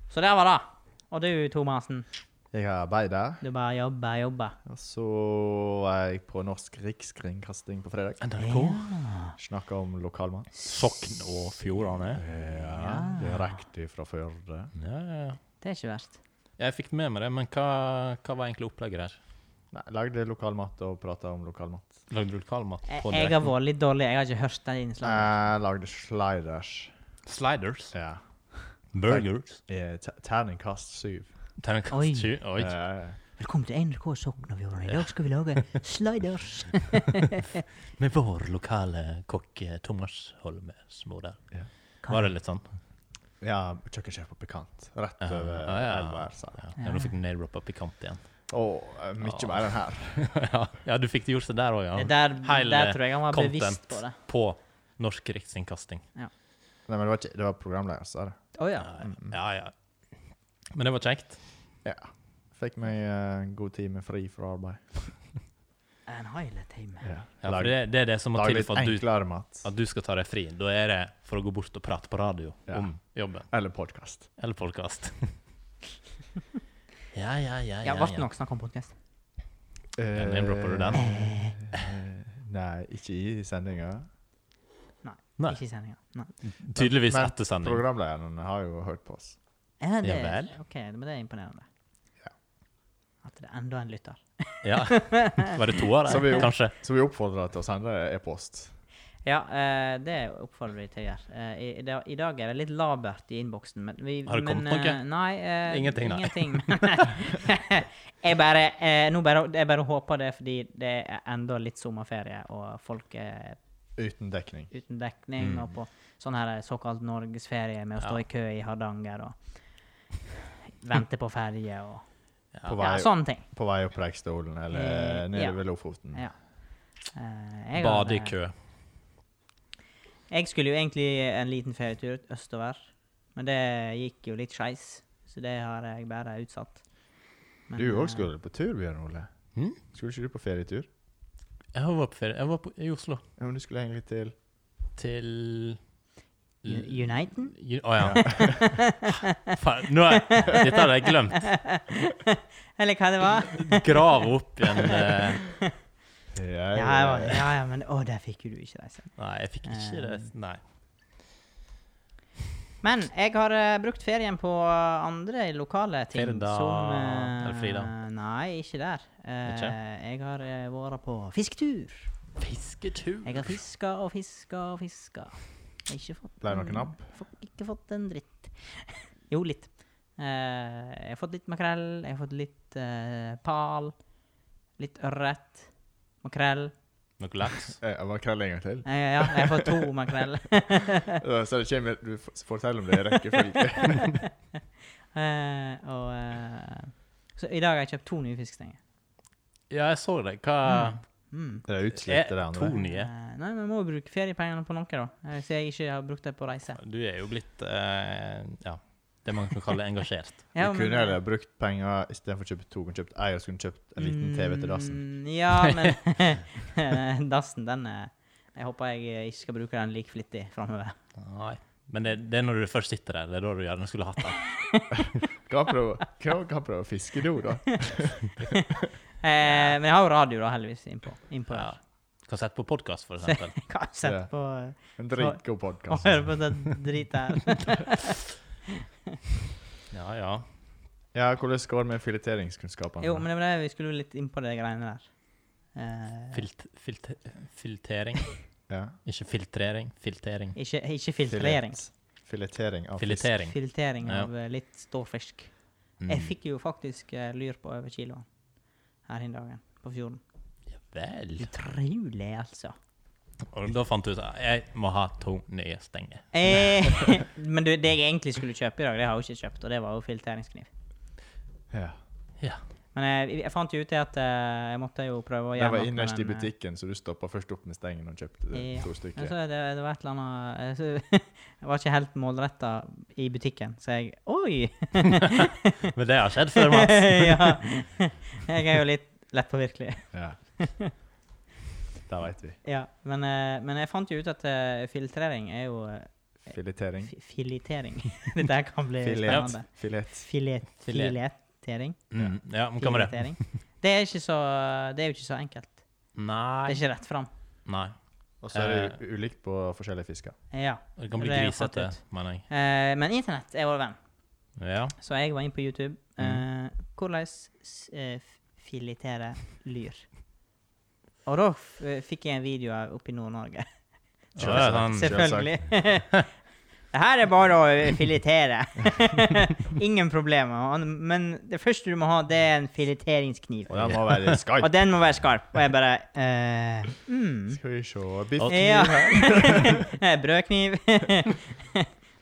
Speaker 3: Så der var det. Og du, Thomassen.
Speaker 1: Jeg har arbeida,
Speaker 3: Du bare jobber, jobber.
Speaker 1: og så var jeg på Norsk Rikskringkasting på fredag.
Speaker 2: NRK?
Speaker 3: Ah.
Speaker 1: Snakka om lokalmat.
Speaker 2: Sogn og Fjordane.
Speaker 1: Ja, direkte fra Førde.
Speaker 2: Ja, ja, ja.
Speaker 3: Det er ikke verst.
Speaker 2: Jeg fikk med meg det, men hva, hva var egentlig opplegget der?
Speaker 1: Nei, lagde lokalmat og prata om lokalmat.
Speaker 2: Lagde du lokalmat
Speaker 3: Jeg,
Speaker 2: på
Speaker 3: jeg har
Speaker 2: direkten?
Speaker 3: vært litt dårlig. Jeg har ikke hørt det innslaget.
Speaker 1: Jeg lagde sliders.
Speaker 2: Sliders?
Speaker 1: Ja.
Speaker 2: Burgers?
Speaker 1: Eh, te- Terningkast syv.
Speaker 3: Oi.
Speaker 2: Terningkast 20? Oi.
Speaker 1: Eh,
Speaker 3: Velkommen til NRK Sogn og Fjordane. I dag skal vi lage
Speaker 2: *laughs*
Speaker 3: sliders.
Speaker 2: Med vår lokale kokk eh, Thomas Holme Smådal.
Speaker 1: Ja.
Speaker 2: Var det litt sånn?
Speaker 1: Ja, kjøkkensjef på Pikant. Rett
Speaker 2: Ja,
Speaker 1: over
Speaker 2: ja, ja.
Speaker 1: elva her, sa jeg.
Speaker 2: Ja, nå fikk du nedroppa pikant *laughs* igjen.
Speaker 1: Og eh, mye mer enn her.
Speaker 2: ja, ja, du fikk det gjort det der òg, ja.
Speaker 3: Der,
Speaker 2: Hele
Speaker 3: der tror jeg han var bevisst
Speaker 2: Content
Speaker 3: på det.
Speaker 2: på Norsk Riksinnkasting.
Speaker 1: Nei, men det var, ikke, det var programleder, sa det.
Speaker 3: Å ja.
Speaker 2: Ja, Mm. ja, ja. Men det var kjekt.
Speaker 1: Ja. Fikk meg eh, en god time fri fra arbeid.
Speaker 3: En highlight time.
Speaker 1: Ja.
Speaker 2: Ja, for
Speaker 1: Lag,
Speaker 2: det, det er det som må
Speaker 1: lag
Speaker 2: til
Speaker 1: litt
Speaker 2: for at du,
Speaker 1: enklere mat.
Speaker 2: at du skal ta deg fri. Da er det for å gå bort og prate på radio
Speaker 1: Ja.
Speaker 2: om jobben.
Speaker 1: Eller podkast.
Speaker 2: Eller podkast. *laughs* ja, ja, ja.
Speaker 3: Ja, ble det nok snakk om podkast?
Speaker 2: Ja, name-dropper du den?
Speaker 1: Eh, Nei, ikke i sendinga.
Speaker 2: Nei.
Speaker 3: Ikke i sendinga. Nei.
Speaker 2: Tydeligvis
Speaker 1: Men-
Speaker 2: etter sending.
Speaker 1: Programlederen har jo hørt på oss.
Speaker 3: Ja, det,
Speaker 2: Ja vel.
Speaker 3: OK, men det er imponerende.
Speaker 1: Ja.
Speaker 3: At det er enda en lytter.
Speaker 2: *laughs* Ja. Var det to av
Speaker 1: Så vi
Speaker 2: dem,
Speaker 1: jo-
Speaker 2: kanskje?
Speaker 1: Så vi oppfordrer til å sende e-post.
Speaker 3: Ja, eh, det oppfordrer vi til å gjøre. Eh, i, i dag- I dag er det litt labert i innboksen. Men vi,
Speaker 2: Har det
Speaker 3: men,
Speaker 2: kommet noe?
Speaker 3: eh, Nei. eh,
Speaker 2: Ingenting, nei.
Speaker 3: ingenting. *laughs* jeg bare, eh, nå bare, jeg bare håper det er fordi det er enda litt sommerferie, og folk er
Speaker 1: Uten dekning.
Speaker 3: uten dekning, og på sånn her såkalt norgesferie med å stå
Speaker 2: Mm. Ja.
Speaker 3: i kø i Hardanger og vente på ferje og
Speaker 2: Ja.
Speaker 1: På
Speaker 3: ja,
Speaker 1: vei,
Speaker 3: sånne ting.
Speaker 1: på vei opp Preikstolen eller
Speaker 3: Eh,
Speaker 1: nede
Speaker 3: ja.
Speaker 1: ved Lofoten.
Speaker 3: Ja. Eh, jeg hadde-
Speaker 2: Bade i kø.
Speaker 3: Jeg skulle jo egentlig en liten ferietur østover, men det gikk jo litt skeis, så det har jeg bare utsatt. Men,
Speaker 1: Du
Speaker 3: eh,
Speaker 1: òg skulle på tur, Bjørn Ole.
Speaker 2: Hm?
Speaker 1: Skulle ikke du på ferietur?
Speaker 2: Jeg var på ferie. Jeg var på, i Oslo.
Speaker 1: Ja, men du skulle egentlig til
Speaker 2: Til
Speaker 3: eh, U- Uniten? *laughs*
Speaker 2: Ju- Å *laughs* ja. Faen, nå er, dette hadde jeg glemt.
Speaker 3: Eller hva det var?
Speaker 2: Grave opp igjen eh,
Speaker 3: Ja,
Speaker 1: Ja,
Speaker 3: jeg var, ja, ja, men å, der fikk jo du ikke reise.
Speaker 2: Nei, jeg fikk ikke det. Nei.
Speaker 3: Men jeg har eh, brukt ferien på andre lokale ting.
Speaker 2: Firda,
Speaker 3: som, eh,
Speaker 2: eller Frida?
Speaker 3: Nei, ikke der. Eh,
Speaker 2: Ikke?
Speaker 3: Jeg har eh, vært på fisketur.
Speaker 2: Fisketur.
Speaker 3: Jeg har fiska og fiska og fiska. Ikke fått
Speaker 1: Ble det noe
Speaker 3: en-
Speaker 1: napp?
Speaker 3: fått- Ikke fått en dritt. jo, litt. Eh, jeg har fått litt makrell, jeg har fått litt eh, pal, litt ørret, makrell
Speaker 2: Noe laks.
Speaker 1: Eh, Makrell en
Speaker 3: *laughs*
Speaker 1: gang til?
Speaker 3: eh, Ja, jeg har fått
Speaker 1: *laughs*
Speaker 3: to makrell.
Speaker 1: Ja, Så det kommer, du f- forteller om det i rekkefølge.
Speaker 3: *laughs* Eh, og eh, Så i dag har jeg kjøpt to nye fiskestenger.
Speaker 2: Ja, jeg så det. Hva
Speaker 3: Mm.
Speaker 1: *laughs* Det er
Speaker 2: er
Speaker 1: utslitt, det
Speaker 2: To
Speaker 1: andre.
Speaker 2: nye.
Speaker 3: Eh, Nei, men jeg må jo bruke feriepengene på noe, da. Eh, Så jeg ikke har brukt det på reise.
Speaker 2: Du er jo blitt eh, Ja, det man kan kalle engasjert.
Speaker 3: Ja,
Speaker 1: du
Speaker 3: men-
Speaker 1: kunne heller brukt penger istedenfor å kjøpe to, kunne kjøpt ei og så kunne kjøpt en liten TV til dassen.
Speaker 3: Mm, Ja, men *laughs* dassen, den eh, Jeg håper jeg eh, ikke skal bruke den like flittig framover.
Speaker 2: Nei. Men det, det er når du først sitter der, det er da du gjerne skulle hatt den.
Speaker 1: Hva prøver hva- hva prøver fiskedo, da?
Speaker 3: Eh, men jeg har jo radio, da, heldigvis, innpå. innpå
Speaker 2: Ja.
Speaker 3: der.
Speaker 2: Kan sette på podkast, for eksempel.
Speaker 3: *laughs* Jeg har sett
Speaker 1: Ja.
Speaker 3: på eh,
Speaker 1: En dritgod
Speaker 3: Å
Speaker 1: podkast.
Speaker 3: høre *laughs* på den driten her.
Speaker 2: *laughs* Ja, ja.
Speaker 1: Ja, hvordan går det med fileteringskunnskapene?
Speaker 3: Jo, men det var det vi skulle litt innpå de greiene der. Eh,
Speaker 2: Filt, filt, filtering.
Speaker 1: ja.
Speaker 2: Ikke filtrering, filtering.
Speaker 3: ikke, ikke filtrering.
Speaker 1: Filet. Filetering av fisk.
Speaker 2: Filetering.
Speaker 3: Filtrering
Speaker 2: Ja.
Speaker 3: av eh, litt ståfisk.
Speaker 2: Mm.
Speaker 3: Jeg fikk jo faktisk eh, lyr på over kiloen her i dagen, på fjorden.
Speaker 2: Ja vel.
Speaker 3: Utrolig, altså.
Speaker 2: Og da fant du ut at jeg må ha to nye stenger.
Speaker 3: Eh, *laughs* men du, det jeg egentlig skulle kjøpe i dag, det har jeg jo ikke kjøpt, og det var jo filtreringskniv.
Speaker 1: Ja.
Speaker 2: Ja.
Speaker 3: Men eh, jeg, jeg fant jo ut det at eh, jeg måtte jo prøve å
Speaker 1: Jeg var
Speaker 3: noe med
Speaker 1: innerst i
Speaker 3: den, eh,
Speaker 1: butikken, så du stoppa først opp med stengen og kjøpte det,
Speaker 3: Ja.
Speaker 1: to
Speaker 3: Men
Speaker 1: stykker.
Speaker 3: så er det, det var et eller annet eh, så, *laughs* Jeg var ikke helt målretta i butikken, så jeg
Speaker 1: *laughs*
Speaker 3: Oi!
Speaker 2: *laughs* Men det har skjedd før, Mats.
Speaker 3: *laughs* ja. Jeg er jo litt lettpåvirkelig. *laughs*
Speaker 1: Ja. Da veit vi.
Speaker 3: Ja, men, eh, men jeg fant jo ut at eh, filtrering er jo eh,
Speaker 1: Filetering.
Speaker 3: fi- *laughs* filetering. Dette her kan bli
Speaker 1: Filet.
Speaker 3: spennende.
Speaker 1: Filet.
Speaker 3: Filet,
Speaker 2: Filet.
Speaker 3: filetering?
Speaker 2: Mm. Ja, men hva med det?
Speaker 3: Filetering. Det er, ikke så, det er jo ikke så enkelt. Det
Speaker 2: Nei.
Speaker 3: er ikke rett fram.
Speaker 2: Nei.
Speaker 1: Og så er det u- ulikt på forskjellige fisker.
Speaker 3: Ja.
Speaker 2: Det kan bli
Speaker 3: Det har jeg fått
Speaker 2: grisete,
Speaker 3: ut.
Speaker 2: mener jeg.
Speaker 3: Eh, men internett er vår venn,
Speaker 2: Ja.
Speaker 3: så jeg var inne på YouTube.
Speaker 2: Mm.
Speaker 3: Eh, hvordan s- eh, f- filetere lyr? Og da f eh, fikk jeg en video av oppe i Nord-Norge.
Speaker 2: Så det er sånn,
Speaker 3: *laughs* Selvfølgelig. *laughs* Det her er bare å filetere. *laughs* Ingen problemer. Han- Men det første du må ha, det er en fileteringskniv.
Speaker 1: Og den må være
Speaker 3: *laughs* Og
Speaker 1: skarp.
Speaker 3: den må være skarp. Og jeg bare eh, mm.
Speaker 1: Skal vi se Biff
Speaker 3: Ja. *laughs* Eh, Brødkniv.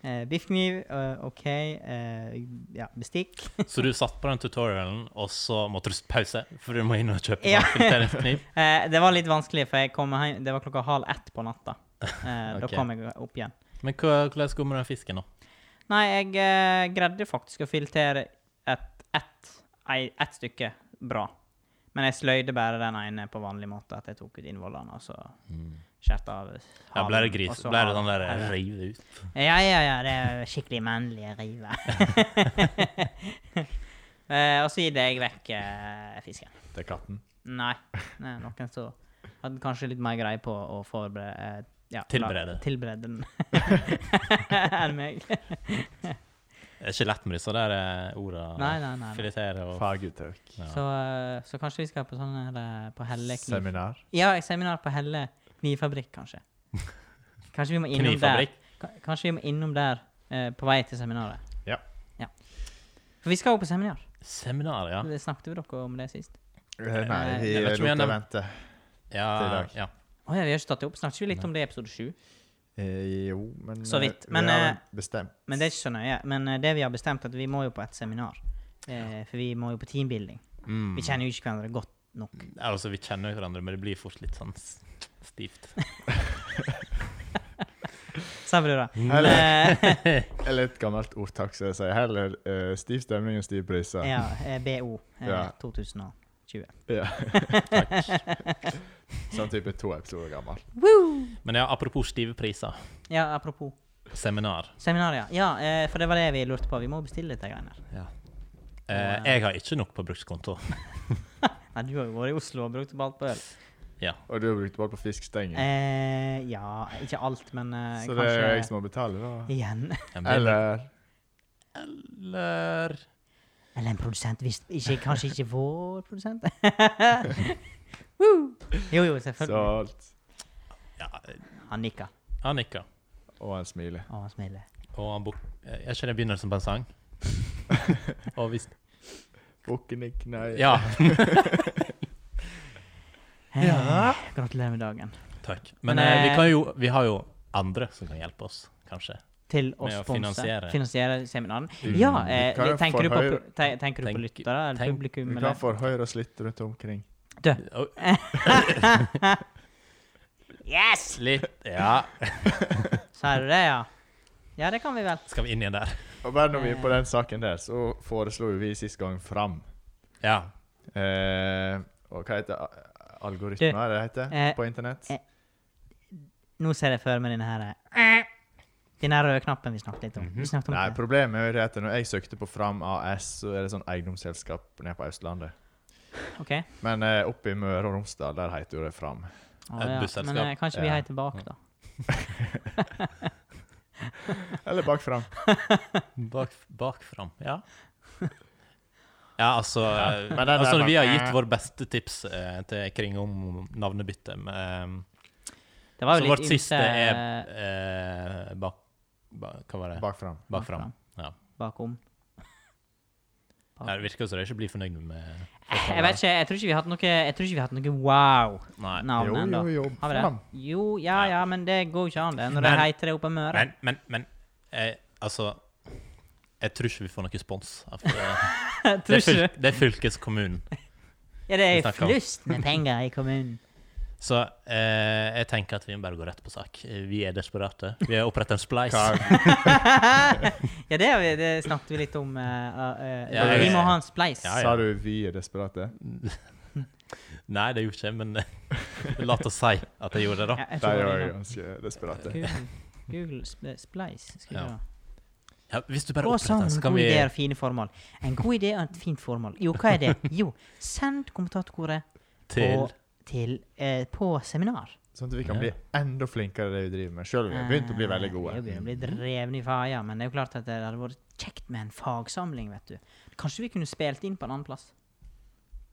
Speaker 3: Eh, Biffkniv. eh, OK. eh, ja, bestikk.
Speaker 2: *laughs* så du satt på den tutorialen, og så måtte du pause, for du må inn og kjøpe
Speaker 3: Ja.
Speaker 2: ja.
Speaker 3: *laughs*
Speaker 2: filteringskniv?
Speaker 3: Eh, det var litt vanskelig, for jeg kom hjem, det var klokka halv ett på natta.
Speaker 2: *laughs*
Speaker 3: Eh, Da
Speaker 2: Ok.
Speaker 3: kom jeg opp igjen.
Speaker 2: Men hva- hvordan går det med den fisken, da?
Speaker 3: Nei, jeg eh, greide faktisk å filtrere ett et, et stykke bra. Men jeg sløyde bare den ene på vanlig måte, at jeg tok ut innvollene og så
Speaker 2: Mm.
Speaker 3: skjærte av
Speaker 2: Ja, ble det
Speaker 3: og
Speaker 2: gris?
Speaker 3: så
Speaker 2: Ble det
Speaker 3: halen.
Speaker 2: sånn der
Speaker 3: Eller-
Speaker 2: rive ut?
Speaker 3: Ja, ja, ja. Det er skikkelig mennlige
Speaker 2: *laughs*
Speaker 3: river. eh, og så gir jeg vekk eh, fisken.
Speaker 1: til katten.
Speaker 3: Nei. Nei noen som hadde kanskje litt mer greie på å forberede eh, ja,
Speaker 2: Tilberede.
Speaker 3: la- tilberede
Speaker 2: *laughs*
Speaker 3: den enn meg.
Speaker 2: Det er ikke lett med disse der eh, orda.
Speaker 3: Nei, nei, nei, nei.
Speaker 2: Filetere og
Speaker 1: Faguttrykk.
Speaker 2: Ja.
Speaker 3: Så, eh, så kanskje vi skal på sånn her eh, på Helle kniv...
Speaker 1: Seminar.
Speaker 3: Ja, et seminar på Helle knivfabrikk, kanskje. Kanskje vi må innom der.
Speaker 2: Knivfabrikk.
Speaker 3: Ka- Kanskje vi må innom der eh, på vei til seminaret.
Speaker 1: Ja.
Speaker 3: ja. For vi skal jo på seminar.
Speaker 2: Seminar, ja.
Speaker 3: Det Snakket vi dere om det sist?
Speaker 1: Eh, Nei, vi
Speaker 2: Jeg vet ikke om
Speaker 1: lot
Speaker 2: jeg
Speaker 1: det
Speaker 2: nevnte-
Speaker 1: vente.
Speaker 2: Ja,
Speaker 1: Til i dag.
Speaker 2: ja.
Speaker 3: Å ja, vi har ikke tatt det opp. Snakket vi litt om det i episode sju?
Speaker 1: Eh, jo, men
Speaker 3: Så
Speaker 1: eh,
Speaker 3: vidt, men,
Speaker 1: vi har
Speaker 3: eh,
Speaker 1: vel bestemt.
Speaker 3: Men det er ikke så nøye. Men eh, det vi har bestemt, at vi må jo på et seminar. Eh, for vi må jo på teambuilding.
Speaker 2: Mm.
Speaker 3: Vi kjenner jo ikke hverandre godt nok.
Speaker 2: Altså, vi kjenner jo hverandre, men det blir fort litt sånn s- stivt.
Speaker 3: Sa vi det, da?
Speaker 1: Heller,
Speaker 3: Eh,
Speaker 1: *laughs* eller et gammelt ordtak som jeg sier. Heller eh, stiv stemning enn stiv priser.
Speaker 3: ja, eh, BO eh,
Speaker 1: Ja.
Speaker 3: 2020.
Speaker 1: *laughs* Ja.
Speaker 2: Takk.
Speaker 1: Sånn type to episoder gammel.
Speaker 2: Men ja, apropos stive priser.
Speaker 3: *laughs* Ja, apropos
Speaker 2: Seminar.
Speaker 3: seminar, ja. ja eh, for det var det vi lurte på. Vi må bestille dette greiene. her.
Speaker 2: Ja. Eh, jeg har ikke nok på brukskonto.
Speaker 3: Nei, du har jo vært i Oslo og brukt opp alt på øl.
Speaker 2: Ja.
Speaker 1: Og du har brukt bare på fiskstenger.
Speaker 3: Eh, ja, ikke alt, men eh,
Speaker 1: så det er jo jeg
Speaker 3: kanskje
Speaker 1: som må betale, da.
Speaker 3: Igjen.
Speaker 2: Men det-
Speaker 1: Eller
Speaker 2: Eller
Speaker 3: Eller en produsent. Hvis ikke, kanskje ikke vår produsent. Woo! Jo, jo, selvfølgelig.
Speaker 1: salt.
Speaker 2: ja,
Speaker 3: Han nikker.
Speaker 2: Han nikker.
Speaker 1: Og han smiler.
Speaker 3: Og han smiler.
Speaker 2: Og han bok... Er ikke det begynnelsen på en sang? Og hvis
Speaker 1: Bukken i knei.
Speaker 2: Ja.
Speaker 3: Eh, Gratulerer med dagen.
Speaker 2: Takk.
Speaker 3: Men,
Speaker 2: Men eh, vi,
Speaker 3: eh,
Speaker 2: kan jo, vi har jo andre som kan hjelpe oss, kanskje.
Speaker 3: Til å
Speaker 2: Med å
Speaker 3: sponse.
Speaker 2: finansiere.
Speaker 3: Finansiere seminaren.
Speaker 1: Mm.
Speaker 3: Ja,
Speaker 1: Vi
Speaker 3: eh,
Speaker 1: kan jo
Speaker 3: tenker, du på,
Speaker 1: forhøye-
Speaker 3: pu- te- tenker du på
Speaker 2: Tenk-
Speaker 3: lyttere eller
Speaker 2: tenk-
Speaker 3: publikum?
Speaker 1: Vi
Speaker 3: Eller?
Speaker 1: kan forhøyre oss litt rundt omkring.
Speaker 2: Oi,
Speaker 3: Yes!
Speaker 2: Litt Ja.
Speaker 3: Sa du det, ja? Ja, det kan vi vel.
Speaker 2: Skal vi inn igjen der?
Speaker 1: Og bare når vi er på den saken der, så foreslo jo vi sist gang Fram.
Speaker 2: Ja.
Speaker 1: Eh, og hva heter det? algoritmer, er det heter
Speaker 3: eh,
Speaker 1: på internett?
Speaker 3: eh, Nå ser jeg for meg denne her eh, Den her røde knappen vi snakket litt om.
Speaker 2: Mhm.
Speaker 3: Vi snakket om
Speaker 1: Nei,
Speaker 3: det.
Speaker 1: problemet er jo det at når jeg søkte på Fram AS, så er det sånn eiendomsselskap nede på Østlandet.
Speaker 3: Ok?
Speaker 1: Men eh, oppe i Møre og Romsdal, der heter jo det
Speaker 3: *laughs*
Speaker 1: Fram.
Speaker 3: Å,
Speaker 2: Et
Speaker 3: ja.
Speaker 2: busselskap.
Speaker 3: Men eh, kanskje vi
Speaker 1: Ja.
Speaker 3: heier tilbake, da.
Speaker 1: Eller bak Fram.
Speaker 2: Bak, bakfram. Ja. Ja, altså, eh,
Speaker 1: men den der
Speaker 2: altså
Speaker 1: bak-
Speaker 2: Vi har gitt vår beste tips eh, til kring om navnebytte. men, eh,
Speaker 3: Det var
Speaker 2: så
Speaker 3: jo
Speaker 2: vårt
Speaker 3: litt
Speaker 2: siste er
Speaker 3: ymse-
Speaker 2: eh, bak, ba, Hva var det?
Speaker 1: Bak Fram.
Speaker 2: Bakfram. Ja.
Speaker 3: bakom.
Speaker 2: Ja, Det virker jo som dere ikke blir fornøyd med
Speaker 3: Eh, Jeg vet ikke, jeg tror ikke vi har hatt noe Jeg tror ikke vi har hatt noe wow-navn
Speaker 2: Nei.
Speaker 1: Jo,
Speaker 3: ennå.
Speaker 1: jo, jo.
Speaker 3: Har vi det?
Speaker 1: Fram.
Speaker 3: Jo, ja, ja, men det går jo ikke an, det, når det
Speaker 2: Men-
Speaker 3: heter det oppe i Møre. *laughs*
Speaker 2: Men, men, men eh, altså Jeg tror ikke vi får noe spons. av- eh, Det
Speaker 3: tror
Speaker 2: er,
Speaker 3: ikke
Speaker 2: fyl,
Speaker 3: du?
Speaker 2: det er fylkeskommunen.
Speaker 3: Ja, det
Speaker 2: vi
Speaker 3: er
Speaker 2: snakker om.
Speaker 3: flust med penger i
Speaker 2: *laughs*
Speaker 3: kommunen. *laughs*
Speaker 2: Så eh, jeg tenker at vi bare går rett på sak. Eh, Vi er desperate. Vi har opprettet en spleis.
Speaker 1: Hva-
Speaker 3: ja, det, har vi- det snakket vi litt om. eh, eh,
Speaker 2: Ja,
Speaker 1: jeg-
Speaker 3: vi må ha en spleis.
Speaker 2: Ja, ja.
Speaker 1: Sa du vi er desperate?
Speaker 2: Nei, det er jo ikke men *laughs* la oss si at jeg gjorde det, da.
Speaker 3: Ja, jeg
Speaker 1: De
Speaker 3: tror det
Speaker 1: er
Speaker 3: var
Speaker 1: jo
Speaker 3: det.
Speaker 1: ganske desperate.
Speaker 3: Google, Google sp- spleis. Skal
Speaker 2: Ja.
Speaker 3: vi da.
Speaker 2: Ja, hvis du bare
Speaker 3: Få
Speaker 2: oppretter
Speaker 3: sammen
Speaker 2: den, så kan
Speaker 3: gode
Speaker 2: vi
Speaker 3: ideer og fine formål. En god idé og et fint formål. Jo, hva er det? Jo, send kommentatorkoret
Speaker 2: til
Speaker 3: på, til, eh, på seminar.
Speaker 1: Sånn at vi kan
Speaker 2: Ja.
Speaker 1: bli enda flinkere i det vi driver med. Selv om vi har begynt å bli veldig
Speaker 3: Eh, Vi
Speaker 1: gode.
Speaker 3: begynner å bli drevne i faja, men det er jo klart at det hadde vært kjekt med en fagsamling, vet du. Kanskje vi kunne spilt inn på en annen plass?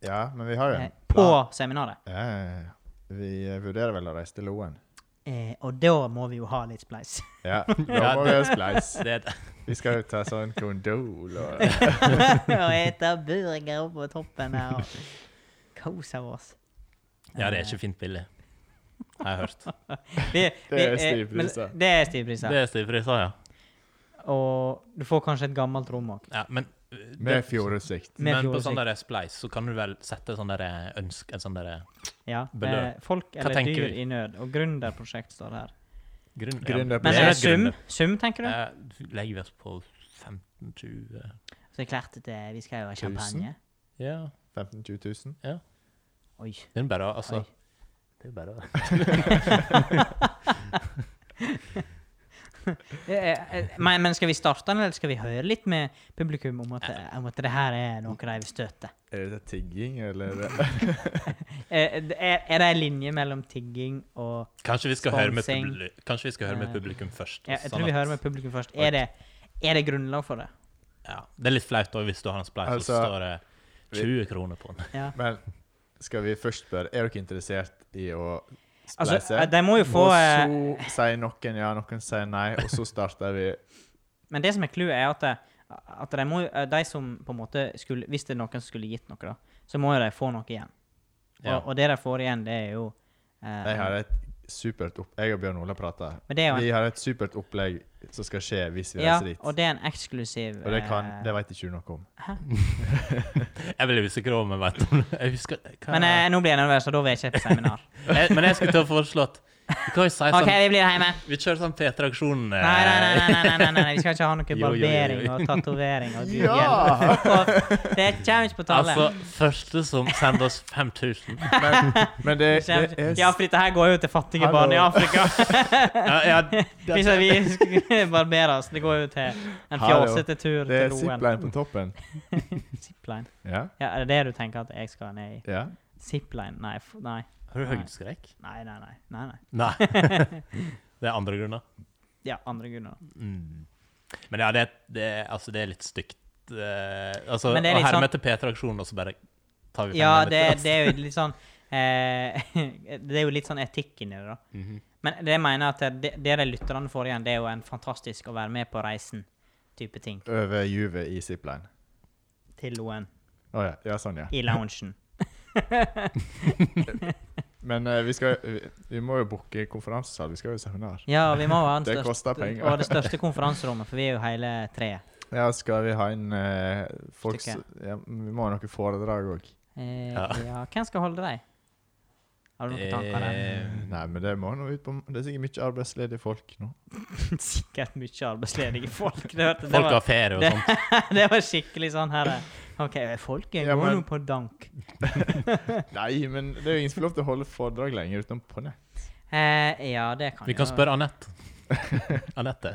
Speaker 1: Ja, men vi har jo
Speaker 3: Eh,
Speaker 1: en plan.
Speaker 3: på seminaret.
Speaker 1: Ja, ja, ja. vi eh, vurderer vel å reise til Loen.
Speaker 3: Eh, og da må vi jo ha litt
Speaker 2: *laughs*
Speaker 3: spleis. *laughs*
Speaker 1: Ja, da
Speaker 2: Ja,
Speaker 1: må vi ha spleis.
Speaker 2: det,
Speaker 1: Vi skal jo ta sånn kondol og
Speaker 3: og ete burger oppå toppen her og kose oss.
Speaker 2: Ja, det er ikke fint billig. Har jeg hørt.
Speaker 3: Det,
Speaker 1: Det er
Speaker 3: vi- eh,
Speaker 1: stive
Speaker 3: men-
Speaker 1: priser.
Speaker 3: Det er stive priser.
Speaker 2: Det er stivpriser, ja.
Speaker 3: Og du får kanskje et gammelt rom òg.
Speaker 2: ja. Men eh,
Speaker 1: med fjordutsikt.
Speaker 3: Med
Speaker 2: men på
Speaker 3: fjordutsikt.
Speaker 2: sånn der spleis så kan du vel sette sånn der ønsk... En sånn der
Speaker 3: Ja.
Speaker 2: Beløp.
Speaker 3: eh, Folk eller
Speaker 2: tenker
Speaker 3: dyr
Speaker 2: vi?
Speaker 3: i nød. Og gründerprosjekt står det her.
Speaker 2: grunn...
Speaker 3: Men
Speaker 1: Gründer- Det
Speaker 2: er
Speaker 3: eh,
Speaker 2: et
Speaker 3: sum,
Speaker 2: gründer.
Speaker 3: sum, tenker du?
Speaker 2: Ja, legger vi oss på 15-20
Speaker 3: Så er det klart at eh, vi skal jo ha
Speaker 1: Tusen?
Speaker 3: champagne.
Speaker 2: Ja.
Speaker 1: 15 000-20 000.
Speaker 3: Oi.
Speaker 2: Det er jo bare å Altså
Speaker 3: Oi. *laughs*
Speaker 2: Det er jo bare å
Speaker 3: Eh, eh, Men, men skal vi starte den, eller skal vi høre litt med publikum om at,
Speaker 1: Eh.
Speaker 3: om at det her er noe de vil støte?
Speaker 1: Er det tigging, eller?
Speaker 3: *laughs* Eh, Er, er det en linje mellom tigging og
Speaker 2: Kanskje vi skal høre med,
Speaker 3: Sponsing.
Speaker 2: publi Kanskje vi skal høre med
Speaker 3: Eh,
Speaker 2: publikum først.
Speaker 3: ja, Jeg
Speaker 2: sånn
Speaker 3: tror vi
Speaker 2: at-
Speaker 3: hører med publikum først. Er det, er det grunnlag for det?
Speaker 2: ja. Det er litt flaut òg, hvis du har en spleis, og så
Speaker 1: Altså,
Speaker 2: står det 20 kroner på den.
Speaker 3: Ja.
Speaker 1: Men skal vi først spørre, er dere interessert i å
Speaker 3: Altså,
Speaker 1: spleise?
Speaker 3: eh, de må jo få eh,
Speaker 1: og så sier noen ja, noen sier nei, og så
Speaker 3: *laughs*
Speaker 1: starter vi.
Speaker 3: Men det som er clouet, er at, det, at de, må, jo- de som på en måte skulle Hvis det er noen som skulle gitt noe, da, så må jo de få noe igjen. Og,
Speaker 2: Ja.
Speaker 3: og det de får igjen, det er jo Eh,
Speaker 1: Jeg har et supert opp... Jeg og Bjørn Ola prater.
Speaker 3: men det er jo en,
Speaker 1: Vi har et supert opplegg som skal skje hvis vi
Speaker 3: ja,
Speaker 1: reiser dit.
Speaker 3: og det er en eksklusiv
Speaker 1: Og det kan
Speaker 3: eh,
Speaker 1: Det veit ikke du noe
Speaker 3: *laughs*
Speaker 1: om.
Speaker 2: Jeg ble usikker om jeg vet om det. Jeg husker, hva,
Speaker 3: Men eh, nå blir jeg nervøs, og da vil jeg ikke på seminar.
Speaker 2: jeg, men jeg skulle til å foreslå at vi kan jo si
Speaker 3: OK,
Speaker 2: sånn
Speaker 3: vi blir hjemme.
Speaker 2: Vi kjører sånn P3-aksjon.
Speaker 3: Nei,
Speaker 2: eh,
Speaker 3: nei, nei, nei, nei, nei, nei, nei. vi skal ikke ha noe
Speaker 2: Jo, jo, jo, jo.
Speaker 3: barbering og tatovering. Og
Speaker 1: Ja!
Speaker 3: dughjelm. Og det kommer ikke på tale.
Speaker 2: Altså, første som sender oss 5000.
Speaker 1: Men,
Speaker 3: Det kommer
Speaker 1: men det, det
Speaker 3: ikke-
Speaker 1: er
Speaker 3: ja, for dette her går jo til fattige
Speaker 1: Hallo.
Speaker 3: barn i Afrika.
Speaker 2: Ja,
Speaker 3: *laughs*
Speaker 2: ja,
Speaker 3: Hvis
Speaker 2: det,
Speaker 3: vi skulle *laughs* barbere oss. Det går jo til en
Speaker 1: Hallo.
Speaker 3: fjasete tur
Speaker 1: Det er
Speaker 3: til
Speaker 1: zipline
Speaker 3: Loen.
Speaker 1: på toppen.
Speaker 3: Zipline.
Speaker 1: Ja.
Speaker 3: Ja, er det det du tenker at jeg skal ned i?
Speaker 1: ja.
Speaker 3: Zipline? Nei. f- Nei,
Speaker 2: har du høydeskrekk?
Speaker 3: nei, nei. nei, nei, nei. *laughs*
Speaker 2: Nei. Det er andre grunner.
Speaker 3: Ja, andre grunner.
Speaker 2: Mm. Men ja, det, det, altså, det er litt stygt. eh, altså,
Speaker 3: Men det er
Speaker 2: å
Speaker 3: litt sånn-
Speaker 2: herme til P3-aksjonen, og så bare tar vi
Speaker 3: Ja,
Speaker 2: pengene
Speaker 3: det,
Speaker 2: litt,
Speaker 3: det er jo litt sånn eh, *laughs* Det er jo litt sånn etikk inni det, da.
Speaker 2: altså. Mhm.
Speaker 3: Men det jeg mener at det, det de lytterne får igjen, det er jo en fantastisk å være med på reisen-type ting.
Speaker 1: Over juvet i zipline.
Speaker 3: Til Loen.
Speaker 1: Å ja. ja. Sånn, ja.
Speaker 3: I loungen. *laughs*
Speaker 1: Men eh, vi skal vi, vi må jo booke konferansesal. Vi skal jo i seminar.
Speaker 3: Ja, vi må ha den
Speaker 1: *laughs* Det
Speaker 3: største,
Speaker 1: koster penger.
Speaker 3: Og det største konferanserommet, for vi er jo hele tre.
Speaker 1: Ja, skal vi ha inn eh, folk
Speaker 3: Stykke.
Speaker 1: s- ja, Vi må ha noe foredrag òg.
Speaker 3: Eh, ja.
Speaker 2: Ja.
Speaker 3: hvem skal holde deg? Har du noen tanker der?
Speaker 2: Eh,
Speaker 1: Nei, men det må nå ut på Det er sikkert mye arbeidsledige folk
Speaker 3: *laughs*
Speaker 1: nå.
Speaker 3: *laughs* Sikkert mye arbeidsledige folk. Det, hørte, det,
Speaker 2: Folk har
Speaker 3: var,
Speaker 2: ferie og
Speaker 3: det-
Speaker 2: sånt.
Speaker 3: *laughs* det var skikkelig sånn her eh, OK, folk
Speaker 1: Ja,
Speaker 3: går
Speaker 1: men-
Speaker 3: nå på dank.
Speaker 1: Nei, men det er jo ingen som får lov til å holde foredrag lenger utenom på nett.
Speaker 3: Eh, ja, det kan
Speaker 2: Vi
Speaker 3: jo
Speaker 2: kan spørre Anette. Anette.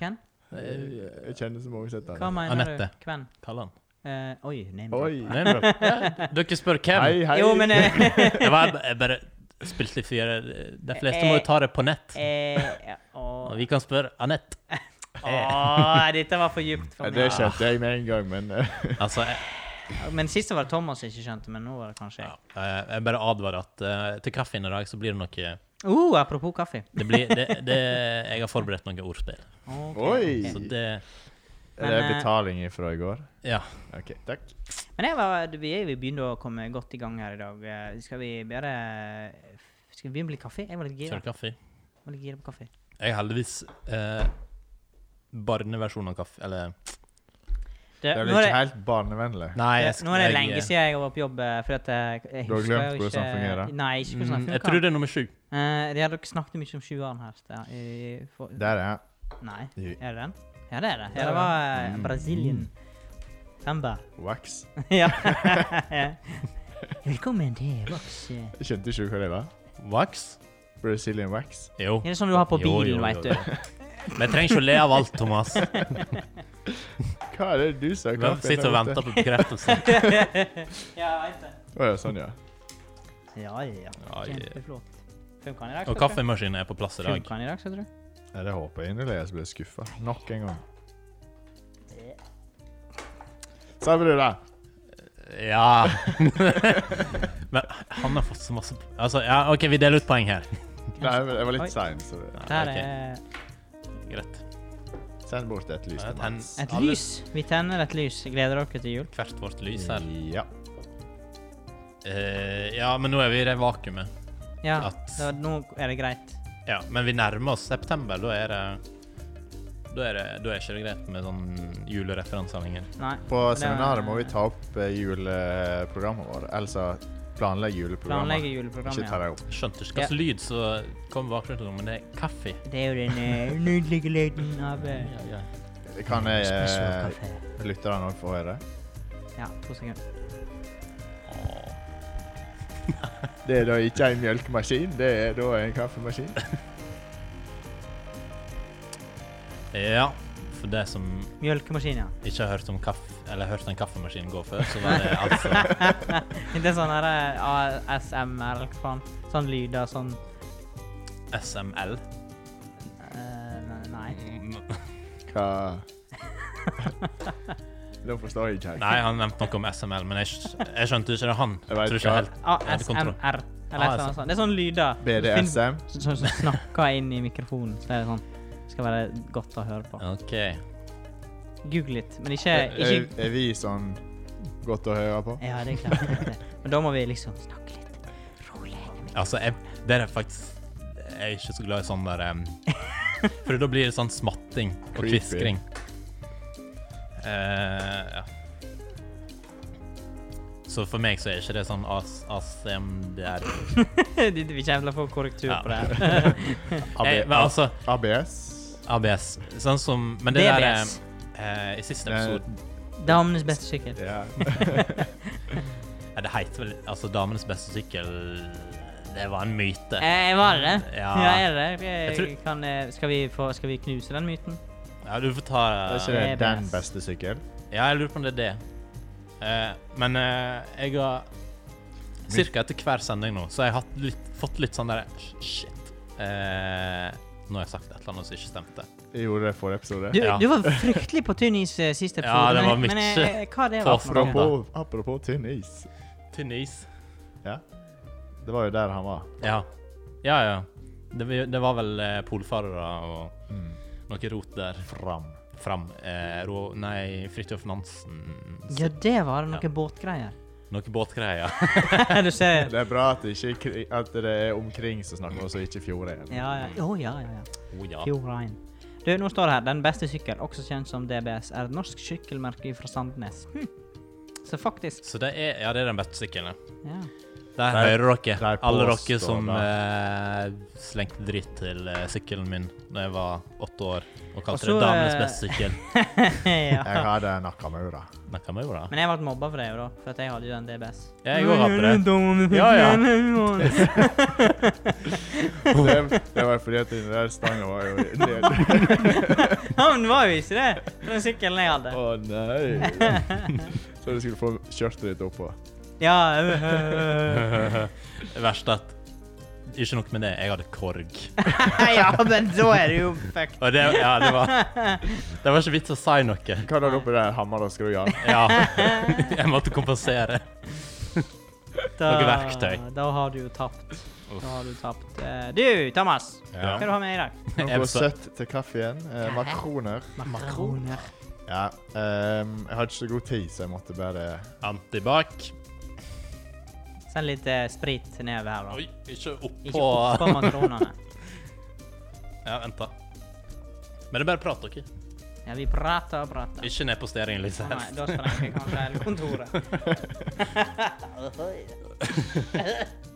Speaker 3: Hvem?
Speaker 2: Eh,
Speaker 1: Jeg jeg kjenner så mange sett
Speaker 3: Hva
Speaker 1: der.
Speaker 3: mener
Speaker 2: Anette.
Speaker 3: du? Hvem?
Speaker 2: Kall han.
Speaker 3: Eh, oi, name drop.
Speaker 1: Oi.
Speaker 2: Nei, bro. Ja, dere spør hvem.
Speaker 1: Hei, hei.
Speaker 3: Jo, men eh,
Speaker 1: *laughs*
Speaker 2: Det var jeg bare spilte litt fyr. De fleste må jo ta det på nett.
Speaker 3: eh, ja,
Speaker 2: Og
Speaker 3: å,
Speaker 2: vi kan spørre Anette.
Speaker 3: Å, Dette var for djupt
Speaker 1: Ja,
Speaker 3: for
Speaker 1: det
Speaker 3: meg.
Speaker 1: skjønte jeg med en gang, men eh,
Speaker 2: Altså, jeg,
Speaker 3: Men sist var det Thomas jeg ikke skjønte, men nå var det kanskje jeg.
Speaker 2: ja, eh, jeg bare advarer at eh, til kaffen i dag så blir det noe
Speaker 3: Uh, apropos kaffe.
Speaker 2: Det blir det, det, Jeg har forberedt noen ordspill.
Speaker 3: Ok,
Speaker 1: Oi.
Speaker 3: ok.
Speaker 2: Så det
Speaker 1: Er det
Speaker 3: *laughs* Men, eh,
Speaker 1: betaling fra i går?
Speaker 2: Ja.
Speaker 1: OK, takk.
Speaker 3: Men jeg var, du- vi, vi begynte å komme godt i gang her i dag. Eh, Skal vi bare Skal vi begynne med litt kaffe? Jeg var litt gira.
Speaker 2: Kjør kaffe.
Speaker 3: Jeg var litt gira på kaffe.
Speaker 2: Jeg har heldigvis eh, barneversjon av kaffe. Eller
Speaker 3: Det,
Speaker 1: Det er vel
Speaker 3: nå, er
Speaker 1: ikke
Speaker 3: det,
Speaker 1: helt barnevennlig.
Speaker 2: Nei,
Speaker 3: det,
Speaker 2: jeg-
Speaker 3: Eh, nå er det
Speaker 2: jeg-
Speaker 3: lenge siden jeg var på jobb. eh, Fordi at jeg, jeg
Speaker 1: Du har
Speaker 3: husker
Speaker 1: glemt
Speaker 3: jo
Speaker 1: hvordan
Speaker 3: ikke-
Speaker 1: den fungerer.
Speaker 3: Nei, ikke hvordan
Speaker 2: Mm,
Speaker 3: den
Speaker 2: jeg tror
Speaker 3: fungerer.
Speaker 2: det er nummer sju.
Speaker 3: Eh, de hadde dere snakket mye om sjueren her. da, i- for-
Speaker 1: Der er Mm. jeg.
Speaker 3: Nei,
Speaker 1: Jo.
Speaker 3: er det den? Ja, det er det.
Speaker 1: Der
Speaker 3: Ja,
Speaker 1: er
Speaker 3: det var eh, Brasilien. Femba.
Speaker 1: Wax.
Speaker 3: *laughs* ja. Velkommen til Vox. eh.
Speaker 1: Skjønte ikke du hva det var?
Speaker 2: Wax?
Speaker 1: Brazilian wax.
Speaker 2: Jo.
Speaker 3: Det er sånn du har på
Speaker 2: Jo, jo,
Speaker 3: bilen,
Speaker 2: jo,
Speaker 3: veit du.
Speaker 2: jo. Men jeg trenger ikke å le av alt, Thomas.
Speaker 1: Hva er det du sa?
Speaker 2: Vi sitter og venter på bekreftelse.
Speaker 3: ja, jeg vet det.
Speaker 1: Å ja, sånn, ja.
Speaker 3: Ja, ja.
Speaker 2: *laughs* Ja, ja.
Speaker 3: Kjempeflott. Funka den i dag? skal
Speaker 2: Og
Speaker 3: du tro?
Speaker 2: kaffemaskinen er på plass i dag.
Speaker 3: Funka den i dag, skal du tro?
Speaker 1: Nei, det håper jeg inderlig jeg blir skuffa. Nok en gang. Sa vi det, da?
Speaker 2: Ja. *laughs* Men han har fått så masse Altså, ja, OK, vi deler ut poeng her.
Speaker 1: Nei, men jeg var
Speaker 3: Oi.
Speaker 1: litt sein, så det-
Speaker 2: Ja,
Speaker 3: Der
Speaker 2: ok,
Speaker 3: er
Speaker 2: Greit.
Speaker 1: send bort et lys
Speaker 2: Ja,
Speaker 1: til
Speaker 2: tenn-
Speaker 1: Mats.
Speaker 3: et
Speaker 2: Alle-
Speaker 3: lys. Vi tenner et lys. Gleder dere til jul?
Speaker 2: Hvert vårt lys her.
Speaker 1: Ja.
Speaker 2: Eh, ja, men nå er vi i det vakuumet.
Speaker 3: Ja,
Speaker 2: At-
Speaker 3: da, nå er det greit.
Speaker 2: Ja, men vi nærmer oss september. Da er det Da er, det, da er ikke det greit med sånn julereferanser lenger.
Speaker 3: Nei.
Speaker 1: På
Speaker 3: det-
Speaker 1: seminaret må vi ta opp eh, juleprogrammet vårt. Altså planlegge
Speaker 3: Planlegge
Speaker 1: juleprogrammet. Ikke
Speaker 3: juleprogrammet.
Speaker 1: ta
Speaker 3: Ja.
Speaker 1: det opp.
Speaker 2: Skjønte ikke hva slags lyd som kom bakgrunnen, men det er kaffe.
Speaker 3: Det er jo den eh, nydelige lyden av eh,
Speaker 2: Ja, ja.
Speaker 1: Det kan jeg eh,
Speaker 3: spesialkaffe.
Speaker 1: lytterne òg få høre.
Speaker 3: Ja, to sekunder.
Speaker 1: Det er da ikke en mjølkemaskin, det er da en kaffemaskin.
Speaker 2: ja. For de som
Speaker 3: Mjølkemaskin, ja.
Speaker 2: ikke har hørt om kaffe, eller hørt en kaffemaskin gå før, så var det altså
Speaker 3: Ikke sånn her eh, ASMR, eller hva faen. Sånn lyder sånn
Speaker 2: SML.
Speaker 3: eh, ne- Nei. *laughs*
Speaker 1: Hva Da forstår jeg ikke helt.
Speaker 2: Nei, han nevnte noe om SML, men jeg, skj- jeg skjønte ikke det. Han
Speaker 1: Jeg vet
Speaker 2: tror
Speaker 1: hva.
Speaker 2: ikke helt hadde kontroll.
Speaker 3: ASMR. Eller et eller annet sånt. Det er sånn lyder.
Speaker 1: BDSM.
Speaker 3: Sånn som snakker inn i mikrofonen. Så det er sånn skal være godt å høre på.
Speaker 2: OK.
Speaker 3: Google litt, men ikke,
Speaker 1: Er, er,
Speaker 3: Eh, ikke Eh,
Speaker 1: er vi sånn godt å høre på?
Speaker 3: Ja, det er klart. det er det. Men da må vi liksom snakke litt rolig. *laughs*
Speaker 2: Altså, jeg, der er faktisk Jeg er ikke så glad i sånn der em, For da blir det sånn smatting og
Speaker 1: Creepy.
Speaker 2: kviskring. Eh, ja. Så for meg så er ikke det sånn AS, ASMDR.
Speaker 3: De vil kjempe for korrektur
Speaker 2: Ja.
Speaker 3: på det. her. *laughs*
Speaker 2: Jeg,
Speaker 3: eh,
Speaker 2: men altså,
Speaker 1: ABS?
Speaker 2: ABS. Sånn som Men det der er
Speaker 3: DBS.
Speaker 2: eh, I siste
Speaker 1: Nei.
Speaker 2: episode
Speaker 3: Damenes beste sykkel. *laughs*
Speaker 1: Ja. *laughs*
Speaker 2: ja, Det heter vel Altså, Damenes beste sykkel Det var en myte.
Speaker 3: Eh, var det det?
Speaker 2: Ja.
Speaker 3: er det det?
Speaker 2: Jeg
Speaker 3: Eh,
Speaker 2: tror-
Speaker 3: Kan, eh, skal, vi få, skal vi knuse den myten?
Speaker 2: Ja, du får ta
Speaker 1: Er ikke det
Speaker 3: ABS.
Speaker 1: den beste sykkel?
Speaker 2: Ja, jeg lurer på om det er det. Eh, men eh, jeg har Cirka etter hver sending nå, så har jeg hatt litt, fått litt sånn derre sh- Shit. Eh, nå har jeg sagt et eller annet som ikke stemte.
Speaker 1: Jeg gjorde det forrige episode.
Speaker 3: Du,
Speaker 2: Ja.
Speaker 3: du var fryktelig på tynn is eh, sist episode.
Speaker 2: Ja, det var
Speaker 3: men- Men
Speaker 2: mye.
Speaker 3: eh, eh, hva det var for noe?
Speaker 1: Apropos, apropos tynn is.
Speaker 2: Tynn is.
Speaker 1: Ja. Det var jo der han var.
Speaker 2: Ja. Ja, ja. Det, var- det var vel eh, polfarere og
Speaker 1: Mm.
Speaker 2: noe rot der
Speaker 1: Fram.
Speaker 2: fram. Eh, Rå- nei, Fridtjof Nansen
Speaker 3: Ja, det var det noe
Speaker 2: Ja.
Speaker 3: båtgreier. *laughs*
Speaker 2: Noe båtgreier.
Speaker 3: du ser.
Speaker 1: Det er bra at det, ikke, er kri- at det er omkring som snakker, og så ikke Fjordheim.
Speaker 3: Ja, ja. Å, ja, ja, ja.
Speaker 2: oh, ja.
Speaker 3: Fjordrein. Du, nå står det her 'Den beste sykkel', også kjent som DBS, er et norsk sykkelmerke fra Sandnes. Hm. Så faktisk
Speaker 2: Så det er, ja, det er den beste sykkelen. ja.
Speaker 3: Ja.
Speaker 2: Der
Speaker 1: Der-
Speaker 2: hører dere.
Speaker 1: der
Speaker 2: Alle dere
Speaker 1: påstår
Speaker 2: som
Speaker 1: det.
Speaker 2: eh, slengte dritt til eh, sykkelen min da jeg var åtte år, og kalte
Speaker 3: Og så,
Speaker 2: det damenes
Speaker 3: eh, *laughs*
Speaker 2: beste sykkel.
Speaker 3: *laughs* ja.
Speaker 1: Jeg hadde Nakamura.
Speaker 2: Nakka meg jo da.
Speaker 3: Men jeg ble mobba for det, jo da, for at jeg hadde jo den DBS.
Speaker 2: Jeg
Speaker 3: *laughs*
Speaker 2: òg hadde *laughs* det.
Speaker 3: det.
Speaker 2: Ja, ja.
Speaker 1: Det, det var fordi at den der stanga var jo ned.
Speaker 3: *laughs* Ja, men det var jo ikke det. Det var Den sykkelen jeg hadde.
Speaker 1: Å nei! Så du skulle få kjørtet ditt oppå.
Speaker 3: *laughs* Ja, øh, øh, øh. *laughs*
Speaker 2: Det verste at Ikke nok med det, jeg hadde korg.
Speaker 3: ja, men da er det jo fucked.
Speaker 2: Og det, ja, det var Det var ikke vits å si noe.
Speaker 1: Hva hadde du oppi der? Hammer og skruer?
Speaker 2: Ja.
Speaker 3: *laughs*
Speaker 2: Jeg måtte kompensere.
Speaker 3: Da-
Speaker 2: Noe verktøy.
Speaker 3: Da har du jo tapt. Da har du tapt. Eh, Du, Thomas. Hva
Speaker 2: Ja.
Speaker 3: har du ha med i dag?
Speaker 2: Jeg
Speaker 1: Noe
Speaker 2: forstår.
Speaker 1: søtt til kaffen. Eh, makroner.
Speaker 3: Makroner.
Speaker 1: Ja. ehm, jeg hadde ikke så god tid, så jeg måtte bare
Speaker 2: Antibac.
Speaker 3: Send litt eh, sprit nedover her, da.
Speaker 2: Oi, ikke
Speaker 3: Ikke
Speaker 2: oppå
Speaker 3: oppå makronene.
Speaker 2: Ja, vent, da. Men det er bare prat, dere.
Speaker 3: Ja, vi prater og prater.
Speaker 2: Ikke ned på stearingen, Lise.
Speaker 3: Å Nei, da sprenger jeg kanskje hele
Speaker 2: *laughs*
Speaker 3: kontoret.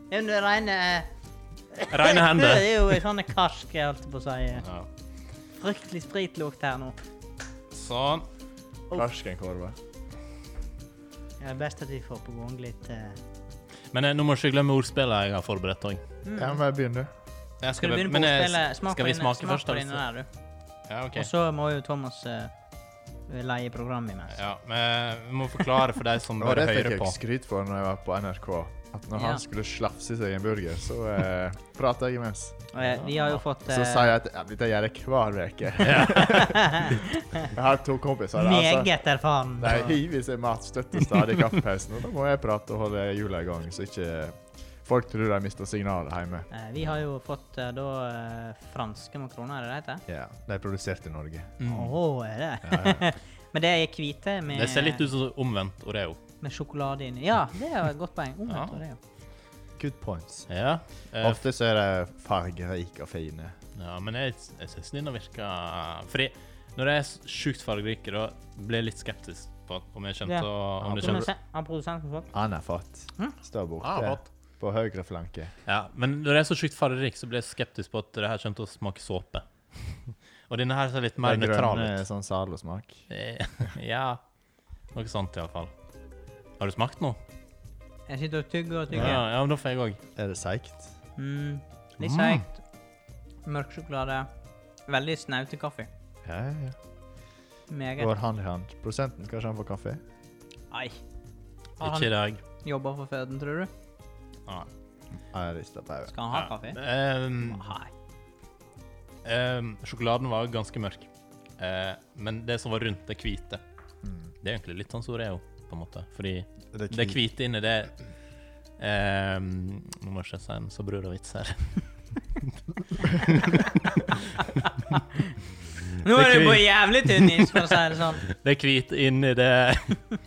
Speaker 3: Det er jo reine
Speaker 2: Reine hender.
Speaker 3: Det er jo sånn karsk, jeg holdt på å si.
Speaker 2: Ja.
Speaker 3: Fryktelig spritlukt her nå.
Speaker 2: Sånn.
Speaker 1: Oh. Karskenkorve.
Speaker 3: Det er best at vi får på gang litt eh,
Speaker 2: Men eh, nå må du ikke glemme ordspillet jeg har forberedt òg.
Speaker 3: Mm.
Speaker 1: Ja, men jeg begynner.
Speaker 3: Skal du begynne på ordspillet? Smak
Speaker 2: eh, skal
Speaker 3: på
Speaker 2: vi
Speaker 3: denne-
Speaker 2: smake
Speaker 3: smak
Speaker 2: først?
Speaker 3: på
Speaker 2: eller
Speaker 3: denne
Speaker 2: så-
Speaker 3: der, du.
Speaker 2: Ja, ok.
Speaker 3: Og så må jo Thomas eh, leie programmet imens.
Speaker 2: Ja, men vi må forklare for de som
Speaker 1: Og
Speaker 2: bare
Speaker 1: det fikk
Speaker 2: hører på.
Speaker 1: jeg skryt for når jeg var på NRK. At når
Speaker 3: Ja.
Speaker 1: han skulle slafse i seg en burger, så
Speaker 3: *laughs*
Speaker 1: eh, prater jeg imens.
Speaker 3: Og eh, vi har jo fått
Speaker 1: Så sier jeg at ja, dette gjør jeg hver uke. *laughs* jeg har to kompiser. da, altså.
Speaker 3: meget eh, erfaren.
Speaker 1: De hiver i seg matstøtte stadig i kaffepausen, og da må jeg prate og holde hjula i gang, så ikke folk tror de mister signalet hjemme.
Speaker 3: Eh, Vi har jo fått eh, da eh, franske makroner, er det det heter?
Speaker 1: Ja, De er produsert i Norge.
Speaker 2: Mm.
Speaker 3: Åh, er det? *laughs* Men det er hvite med,
Speaker 2: Det ser litt ut som omvendt Oreo.
Speaker 3: med sjokolade inni. Ja, det er jo et godt poeng. Omvendt
Speaker 2: Ja.
Speaker 3: var det, ja.
Speaker 1: Good points.
Speaker 2: Ja, eh,
Speaker 1: Ofte så er de fargerike og fine.
Speaker 2: ja men jeg, jeg syns den virker fri. Når jeg er s- sjukt fargerik, da blir jeg litt skeptisk på at- om jeg kommer
Speaker 3: Ja.
Speaker 2: til å om det
Speaker 3: Som jeg
Speaker 2: kommer,
Speaker 3: sa- Har produsenten fått?
Speaker 1: Han er fatt. Står
Speaker 2: Ah,
Speaker 1: borte
Speaker 2: fatt.
Speaker 1: på høyre flanke.
Speaker 2: Ja, Men når jeg er så sjukt fargerik, så blir jeg skeptisk på at det her kommer til å smake såpe. *laughs* Og denne her ser litt mer
Speaker 1: Den
Speaker 2: nøytral ut.
Speaker 1: grønne sånn Zalo-smak.
Speaker 2: Eh, ja. Noe sånt, iallfall. Har du smakt noe?
Speaker 3: Jeg sitter og tygger og
Speaker 2: Ja,
Speaker 3: tygger.
Speaker 2: ja, men da får jeg òg.
Speaker 1: Er det seigt?
Speaker 3: Mm, litt
Speaker 2: Mm.
Speaker 3: seigt. Mørk sjokolade. Veldig snaute kaffe.
Speaker 1: Ja, ja, ja.
Speaker 3: Meget.
Speaker 1: Går hand i hand. Prosenten, kanskje han får kaffe?
Speaker 3: Ai. Har
Speaker 2: Ikke i
Speaker 3: han
Speaker 2: dag.
Speaker 3: jobba for føden, tror du?
Speaker 2: Ah,
Speaker 1: Ja, jeg rister på hodet.
Speaker 3: Skal han ha
Speaker 2: ja.
Speaker 3: kaffe?
Speaker 2: Ehm,
Speaker 3: Nei.
Speaker 2: ehm, sjokoladen var ganske mørk, Eh, men det som var rundt det hvite Det er egentlig litt sånn som Oreo, på en måte. Fordi det
Speaker 1: Mm.
Speaker 2: hvite inni det ehm, Nå må jeg ikke si en så brud og vits her. *laughs*
Speaker 3: Nå
Speaker 2: Det
Speaker 3: er du
Speaker 2: er
Speaker 3: på
Speaker 2: kvi-
Speaker 3: jævlig tynn is, for å si det sånn.
Speaker 2: *laughs* Det hvite inni det *laughs*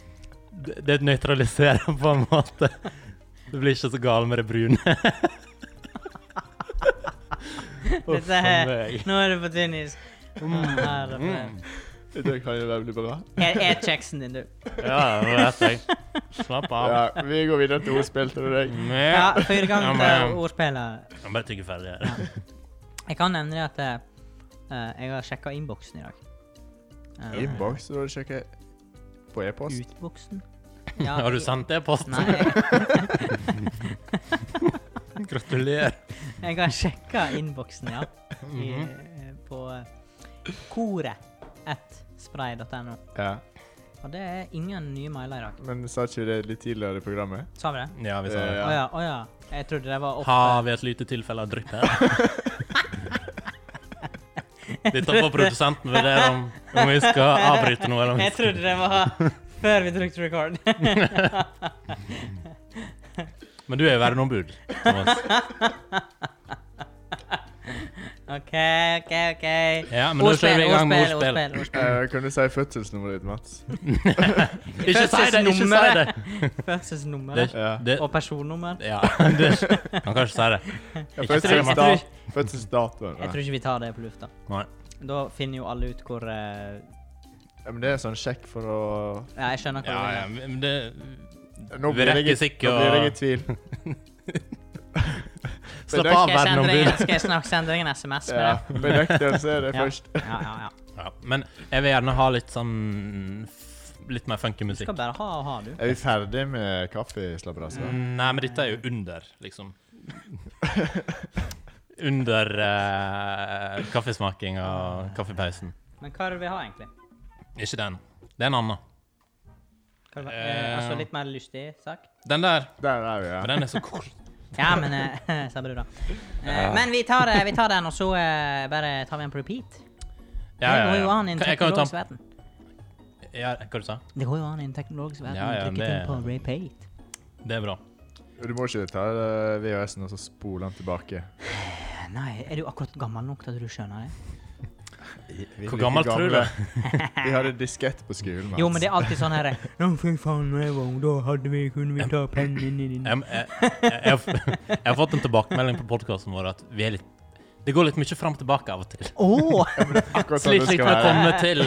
Speaker 2: Det det nøytraliserer på en måte. Du blir ikke så gal med det brune. Uff, *laughs*
Speaker 3: Dette her,
Speaker 2: meg.
Speaker 3: nå er du på tynn is.
Speaker 2: Mm.
Speaker 3: Herre min.
Speaker 1: Det kan jo være veldig bra.
Speaker 3: Her er kjeksen din, du.
Speaker 2: Ja, det vet jeg. Slapp av.
Speaker 1: Ja, vi går videre til ordspill til deg.
Speaker 3: Ja,
Speaker 2: Med.
Speaker 3: fire
Speaker 2: Ja,
Speaker 3: ganger
Speaker 2: men-
Speaker 3: til ordspillet.
Speaker 2: Jeg bare tygger ferdig her.
Speaker 3: Jeg kan nevne det at eh, jeg har sjekka innboksen i dag. Eh,
Speaker 1: Inbox, så da sjekker jeg på e-post.
Speaker 2: *laughs*
Speaker 3: Utboksen?
Speaker 2: Har du sendt det i posten?
Speaker 3: Nei, jeg,
Speaker 2: Gratulerer.
Speaker 3: jeg har sjekka innboksen,
Speaker 2: *laughs*
Speaker 3: ja. I,
Speaker 2: Mhm.
Speaker 3: eh, på eh, koret.spray.no.
Speaker 1: Ja.
Speaker 3: Og det er ingen nye mailer i dag.
Speaker 1: Men sa ikke vi det litt tidligere i programmet?
Speaker 3: Sa vi det?
Speaker 2: Ja, vi sa
Speaker 3: Å
Speaker 2: det.
Speaker 1: Ja.
Speaker 3: ja, å ja. Jeg trodde det var oppe.
Speaker 2: Har vi et lite tilfelle av drypp her? Dette får produsenten vurdere om, om vi skal avbryte noe. Eller om vi
Speaker 3: Jeg trodde det var *laughs* før vi trykte record. *laughs*
Speaker 2: skal- Men du er jo verneombud, Thomas.
Speaker 3: OK, OK, OK.
Speaker 2: Ja, men da kjører vi i gang med
Speaker 3: ordspill,
Speaker 2: ordspill.
Speaker 3: ordspill.
Speaker 1: Eh, kan du si fødselsnummeret ditt,
Speaker 3: *laughs*
Speaker 1: Mats?
Speaker 2: Ikke si det! ikke si det.
Speaker 3: Fødselsnummer
Speaker 2: det,
Speaker 1: Ja.
Speaker 2: det
Speaker 3: og personnummer.
Speaker 2: ja, Eh, det, han kan ikke si det.
Speaker 1: Ja,
Speaker 2: Ikke si det,
Speaker 1: fødselsdat-
Speaker 2: Mats.
Speaker 1: Fødselsdatoen.
Speaker 3: Jeg
Speaker 1: Ja.
Speaker 3: tror ikke vi tar det på lufta.
Speaker 2: Nei.
Speaker 3: Da finner jo alle ut hvor eh,
Speaker 1: Ja, men det er sånn sjekk for å
Speaker 3: Ja, jeg skjønner hva
Speaker 2: Ja, ja,
Speaker 3: du
Speaker 2: men det
Speaker 1: Nå
Speaker 2: Vi
Speaker 1: blir
Speaker 2: rekker
Speaker 1: jeg, i-
Speaker 2: sikkert
Speaker 1: nå blir
Speaker 2: å-
Speaker 1: jeg i tvil.
Speaker 2: *laughs* Slapp
Speaker 1: Bedøkt.
Speaker 2: av,
Speaker 3: vil. Skal jeg sende deg,
Speaker 2: verneombud.
Speaker 3: skal jeg snart sende deg en SMS med
Speaker 1: Ja,
Speaker 3: det?
Speaker 2: *laughs*
Speaker 1: Benektelse er det
Speaker 3: Ja.
Speaker 1: først.
Speaker 3: Ja, ja, ja.
Speaker 2: Ja, men jeg vil gjerne ha litt sånn f- Litt mer funky
Speaker 3: Du
Speaker 2: musikk.
Speaker 3: skal bare ha og ha, du.
Speaker 1: Er vi ferdig med kaffeslabberas?
Speaker 3: Mm.
Speaker 1: da?
Speaker 2: Nei, men dette er jo under, liksom. under eh, kaffesmaking og kaffepausen.
Speaker 3: Men hva er det vi har, egentlig?
Speaker 2: Ikke den. Det er en annen.
Speaker 3: Hva er det, eh, altså
Speaker 2: Eh.
Speaker 3: litt mer lystig sak?
Speaker 2: Den der.
Speaker 1: Der er vi, ja.
Speaker 2: Men den er så kort.
Speaker 3: Ja, men eh, *laughs* Så blir det bra. Eh, men vi tar, eh, vi tar den, og så eh, bare tar vi en på repeat.
Speaker 2: Ja, ja,
Speaker 3: Det går jo
Speaker 2: ja.
Speaker 3: an i en
Speaker 2: Kan- Jeg kan jo ta
Speaker 3: teknologisk verden.
Speaker 2: ja, Hva du sa du?
Speaker 3: Det går jo an i en teknologisk verden.
Speaker 2: Ja,
Speaker 3: å
Speaker 2: ja,
Speaker 3: trykke ting
Speaker 2: det-
Speaker 3: på repeat. *sighs*
Speaker 2: Det er bra.
Speaker 1: Du må ikke ta eh, VHS-en og så spole den tilbake.
Speaker 3: Nei, er du akkurat gammel nok til at du skjønner det?
Speaker 1: Vi er
Speaker 2: Hvor
Speaker 1: like
Speaker 2: gammel tror du?
Speaker 1: gamle. Vi hadde diskett på skolen. Mats.
Speaker 3: Jo, men det er alltid sånn
Speaker 2: *laughs*
Speaker 3: herre Nå, fy faen, når jeg var ung, da hadde vi, kunne vi ta pennen din
Speaker 2: Jeg, jeg, jeg, jeg, har f- jeg har fått en tilbakemelding på podkasten vår at vi er litt Det går litt mye fram og tilbake av og til.
Speaker 3: Åh!
Speaker 1: Akkurat sånn det
Speaker 2: Slitt litt
Speaker 1: skal
Speaker 2: med å
Speaker 1: være.
Speaker 2: komme til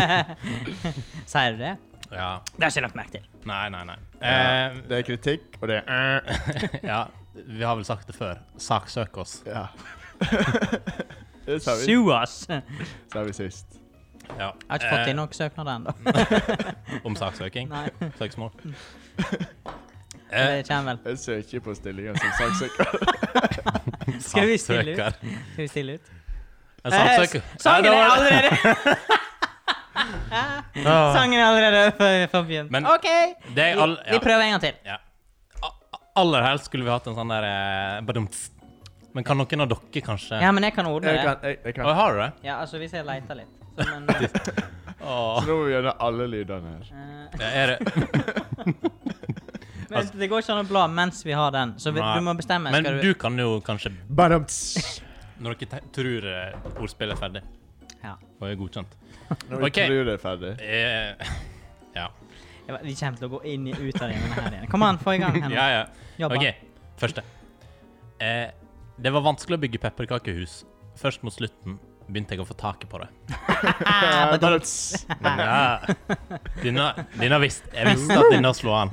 Speaker 3: *laughs* Sier du det?
Speaker 2: Ja.
Speaker 3: Det har jeg ikke lagt merke til.
Speaker 2: Nei, nei, nei.
Speaker 1: Ja,
Speaker 2: Eh,
Speaker 1: det er kritikk, og det er eh,
Speaker 2: ja, vi har vel sagt det før. Saksøk oss. *laughs*
Speaker 1: Ja. det sa vi,
Speaker 3: Sue us! Jeg
Speaker 1: sa vi sist.
Speaker 2: Ja.
Speaker 3: har ikke fått inn nok søknader ennå.
Speaker 2: Eh, om saksøking.
Speaker 3: *laughs* Nei, Mm.
Speaker 2: Søksmål. Eh,
Speaker 3: det kommer vel.
Speaker 1: Jeg søker på stillinga som saksøker.
Speaker 3: Skal vi stille ut?
Speaker 2: saksøker.
Speaker 3: Skal vi stille ut?
Speaker 2: En
Speaker 3: Eh,
Speaker 2: saksøker.
Speaker 3: s- Sangen
Speaker 2: Ja,
Speaker 3: er
Speaker 2: det var- *laughs*
Speaker 3: allerede
Speaker 2: Ah.
Speaker 3: Sangen er allerede for- for begynt.
Speaker 2: Men-
Speaker 3: OK,
Speaker 2: Det er
Speaker 3: vi,
Speaker 2: all,
Speaker 3: vi
Speaker 2: ja,
Speaker 3: prøver en gang til.
Speaker 2: ja. A- Aller helst skulle vi hatt en sånn der eh, badumts. Men kan noen av dere kanskje
Speaker 3: Ja, men jeg kan ordne
Speaker 1: Jeg
Speaker 3: det.
Speaker 1: kan, jeg, jeg
Speaker 2: Å,
Speaker 1: kan.
Speaker 2: Har du det?
Speaker 3: Ja, altså, hvis jeg leter litt.
Speaker 2: *laughs*
Speaker 3: Så, men, *laughs*
Speaker 2: Å,
Speaker 1: Så nå må vi gjøre alle lydene her.
Speaker 3: eh,
Speaker 2: er det?
Speaker 3: Men det går ikke an å bla mens vi har den, så vi,
Speaker 2: Altså- Nei.
Speaker 3: du må bestemme.
Speaker 2: Men
Speaker 3: Skal
Speaker 2: du kan jo kanskje,
Speaker 1: Badamts.
Speaker 2: når dere te- tror eh, ordspillet er ferdig
Speaker 3: Ja.
Speaker 2: og er godkjent
Speaker 1: Når vi
Speaker 2: Ok.
Speaker 1: tror det er ferdig.
Speaker 2: eh, Ja.
Speaker 3: Jeg vet- Vi kommer til å gå inn i ut av denne her igjen. Kom an, få i gang. Henrik.
Speaker 2: ja, ja.
Speaker 3: Jobba.
Speaker 2: OK, første. Eh, det var vanskelig å bygge pepperkakehus. Først mot slutten begynte jeg å få taket på det.
Speaker 1: Eh, badamts.
Speaker 3: *laughs*
Speaker 2: Ja. Denne, denne visst, jeg visste at denne slo an.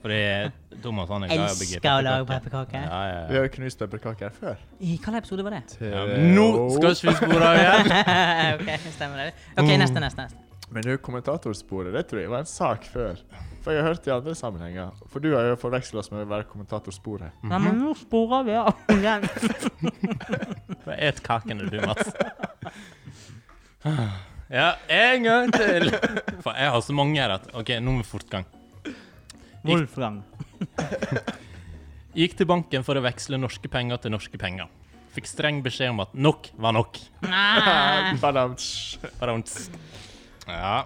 Speaker 2: Fordi Thomas han er glad i å bygge
Speaker 3: Elsker å lage
Speaker 2: pepperkaker.
Speaker 3: pepperkaker.
Speaker 2: Ja,
Speaker 1: Vi
Speaker 2: ja, ja.
Speaker 1: har jo knust pepperkaker her før.
Speaker 3: I hvilken episode var det?
Speaker 2: Ja, men nå skal ikke vi spore av
Speaker 1: *laughs*
Speaker 3: *laughs*
Speaker 2: igjen!
Speaker 3: ok, stemmer det. Ok,
Speaker 2: Mm.
Speaker 3: neste, neste. neste.
Speaker 1: Men det kommentatorsporet det tror jeg var en sak før. For jeg har hørt i andre sammenhenger. For du har jo forveksla oss med å være kommentatorsporet.
Speaker 2: Mm.
Speaker 3: Nei, men nå sporer vi av *laughs* den.
Speaker 2: Et kakene, du, Mats. Ja, en gang til! For jeg har så mange her at OK, nå må vi fortgang.
Speaker 3: Wolfgang.
Speaker 2: Gikk til banken for å veksle norske penger til norske penger. Fikk streng beskjed om at nok var nok. Ah.
Speaker 1: *laughs*
Speaker 3: Nei.
Speaker 1: Badamts.
Speaker 2: Bare om tss. Ja.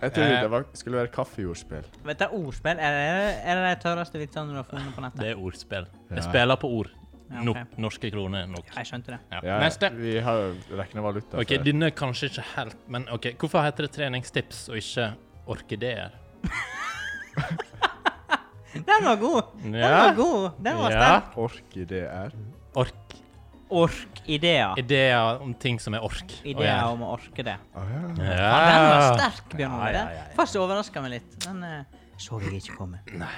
Speaker 1: Jeg tror
Speaker 2: Eh.
Speaker 1: det var, skulle være kaffejordspill.
Speaker 3: Vet du, ordspill er det, er det de tørreste vitsene du har funnet på nettet?
Speaker 2: Det er ordspill.
Speaker 1: Ja.
Speaker 2: Jeg spiller på ord.
Speaker 3: Ja, ok.
Speaker 2: Nok. Norske kroner. Nok.
Speaker 3: Jeg skjønte det.
Speaker 2: Ja.
Speaker 1: Ja,
Speaker 2: Neste.
Speaker 1: Vi har jo regna valuta
Speaker 2: Ok,
Speaker 1: før.
Speaker 2: denne er kanskje ikke helt Men ok, hvorfor heter det treningstips og ikke orkideer?
Speaker 3: Den var god! Den var god! Den var
Speaker 2: ja.
Speaker 3: sterk.
Speaker 1: Orkideer.
Speaker 2: Ork.
Speaker 3: Ork-ideer.
Speaker 2: Ideer om ting som er ork. å
Speaker 3: Ideer
Speaker 2: gjøre.
Speaker 3: om å orke det.
Speaker 1: ja.
Speaker 2: Ja.
Speaker 3: Den var sterk, Bjørn
Speaker 2: Ah. Ja,
Speaker 3: Ove.
Speaker 2: ja,
Speaker 3: Den
Speaker 2: ja, ja.
Speaker 3: Faktisk overraska meg litt. Den eh, så jeg ikke komme. Nei.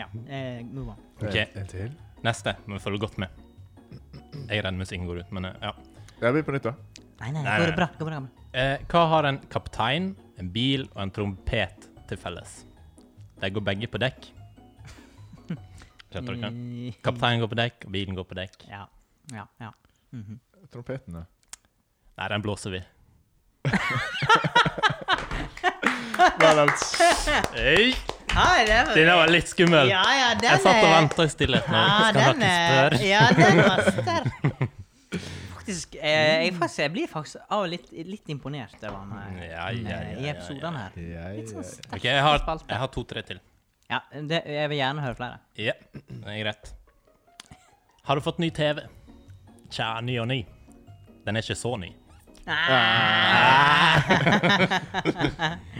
Speaker 3: Ja. Eh, move on.
Speaker 2: Ok.
Speaker 1: En- En til.
Speaker 2: Neste må vi følge godt med. Jeg er redd musikken går ut, men eh, ja.
Speaker 1: Det blir på nytt, da.
Speaker 3: Nei, nei, går
Speaker 2: Nei, nei.
Speaker 3: det bra? Går det bra? gammel?
Speaker 2: Eh, hva har en kaptein, en bil og en trompet til felles? De går begge på
Speaker 3: *laughs*
Speaker 2: dekk. Skjønte dere?
Speaker 3: Mm.
Speaker 2: Kapteinen går på dekk, og bilen går på dekk.
Speaker 3: Ja. Ja. ja. Mhm.
Speaker 1: Trompetene.
Speaker 2: Nei, den blåser vi.
Speaker 1: Vel, *laughs*
Speaker 2: Øy,
Speaker 3: Nei, det var-
Speaker 2: denne var litt skummel.
Speaker 3: Ja, ja, den
Speaker 2: Jeg satt og
Speaker 3: er-
Speaker 2: venta i stillhet nå.
Speaker 3: Ja, Ah, den
Speaker 2: Skal dere
Speaker 3: er-
Speaker 2: spørre?
Speaker 3: Ja, den var
Speaker 2: *laughs*
Speaker 3: sterk. Faktisk, eh, jeg, faktisk, jeg blir faktisk av og litt, litt imponert over han her eh,
Speaker 2: Ja, ja, ja,
Speaker 3: i
Speaker 2: ja,
Speaker 3: episoden her.
Speaker 1: jeg,
Speaker 3: Litt sånn
Speaker 1: jeg,
Speaker 3: sterk
Speaker 2: OK, jeg har,
Speaker 3: spalte.
Speaker 2: jeg har to-tre til.
Speaker 3: Ja, det, jeg vil gjerne høre flere.
Speaker 2: Ja, det er greit. Har du fått ny TV? Tja, ny og ny. Den er ikke så ny. *laughs*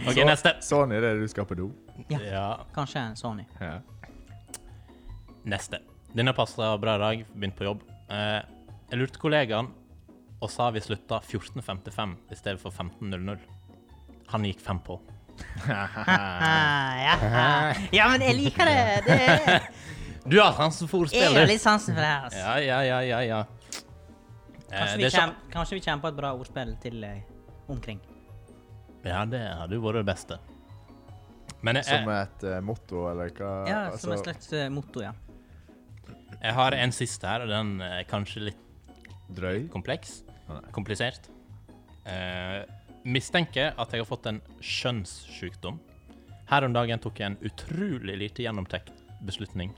Speaker 2: OK, neste.
Speaker 1: sånn er det du skal på do.
Speaker 2: Ja,
Speaker 3: Kanskje en Sony.
Speaker 1: Ja.
Speaker 2: Neste. Denne passer bra i dag. Begynt på jobb. Eh, jeg lurte kollegaen og sa vi slutta 14.55 i stedet for 15.00. Han gikk fem på.
Speaker 3: Ah,
Speaker 2: *laughs*
Speaker 3: ja. ja, men jeg liker det. det er,
Speaker 2: Du har sansen for
Speaker 3: jeg
Speaker 2: ordspill,
Speaker 3: har
Speaker 2: du.
Speaker 3: litt sansen for det her. Altså.
Speaker 2: Ja, ja, ja, ja. ja.
Speaker 3: Kanskje,
Speaker 2: Eh, det
Speaker 3: vi
Speaker 2: er ikke-
Speaker 3: kjem, kanskje vi kommer på et bra ordspill til eh, omkring.
Speaker 2: Ja, det hadde jo vært det beste. Men jeg,
Speaker 1: Som
Speaker 2: jeg,
Speaker 1: et eh, motto, eller hva?
Speaker 3: Ja, Som et
Speaker 1: altså-
Speaker 3: slags eh, motto, ja.
Speaker 2: jeg har en siste her, og den er kanskje litt
Speaker 1: Drøy?
Speaker 2: kompleks.
Speaker 1: Å, nei.
Speaker 2: Komplisert. Eh, mistenker at jeg har fått en skjønnssykdom. Her om dagen tok jeg en utrolig lite gjennomtenkt beslutning.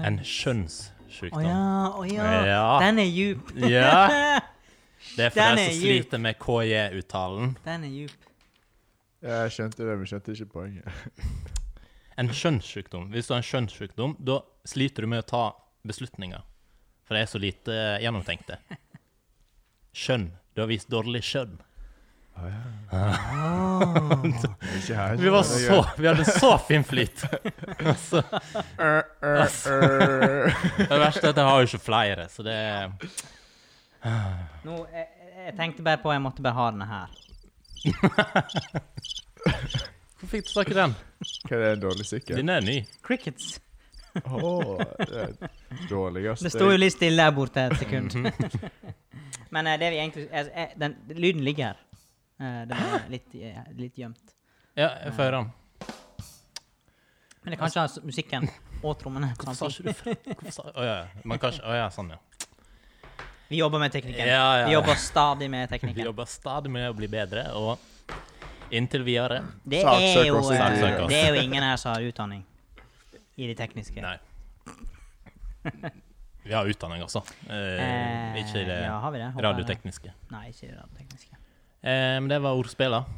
Speaker 2: En
Speaker 3: Å
Speaker 2: skjønnssykdom.
Speaker 3: ja, å ja.
Speaker 2: Ja.
Speaker 3: Den er djup. *laughs*
Speaker 2: Ja. Det er for
Speaker 3: Den
Speaker 2: deg
Speaker 3: er
Speaker 2: som
Speaker 3: djup.
Speaker 2: sliter med KJ-uttalen.
Speaker 3: Den er djup.
Speaker 1: Jeg skjønte det, men skjønte ikke
Speaker 3: *laughs*
Speaker 1: poenget.
Speaker 2: En skjønnssykdom. Hvis du har en skjønnssykdom, da sliter du med å ta beslutninger. For det er så lite eh, gjennomtenkte. Skjønn. Du har vist dårlig skjønn.
Speaker 1: Ikke her.
Speaker 2: Vi var så Vi hadde så fin flyt. Altså, det verste er at jeg har jo ikke flere, så det
Speaker 3: Nå, jeg, jeg tenkte bare på at jeg måtte bare ha denne her.
Speaker 2: Hvor fikk du tak i den?
Speaker 1: *laughs* Hva er det, en dårlig sykkel?
Speaker 2: Denne er ny.
Speaker 3: Crickets.
Speaker 1: Åh, det er dårligste
Speaker 3: Det sto jo litt stille der borte et sekund.
Speaker 1: Mhm.
Speaker 3: *laughs* Men eh, det vi egentlig eh, eh, den, Lyden ligger her. Eh, den er litt, eh, litt gjemt.
Speaker 2: Ja, jeg får høre den.
Speaker 3: Men jeg kan ikke ha s- altså musikken og trommene
Speaker 2: Hvorfor
Speaker 3: samtidig.
Speaker 2: sa ikke du fra? Hvorfor sa- Å ja. Man kan ikke Å ja, sånn, ja.
Speaker 3: Vi jobber med teknikken.
Speaker 2: Ja, ja,
Speaker 3: Vi
Speaker 2: ja.
Speaker 3: jobber stadig med
Speaker 2: Vi
Speaker 3: teknikken.
Speaker 2: jobber stadig med å bli bedre, og inntil videre
Speaker 3: Det
Speaker 1: Saksøker
Speaker 3: er jo,
Speaker 1: oss
Speaker 3: eh,
Speaker 2: ikke.
Speaker 3: det er jo ingen her som har utdanning i det tekniske.
Speaker 2: Nei. Vi har utdanning, altså. Eh,
Speaker 3: Eh,
Speaker 2: ikke i det
Speaker 3: ja, har vi det? Håper jeg det.
Speaker 2: radiotekniske.
Speaker 3: Nei, ikke i det radiotekniske.
Speaker 2: Eh, men det var ordspillet.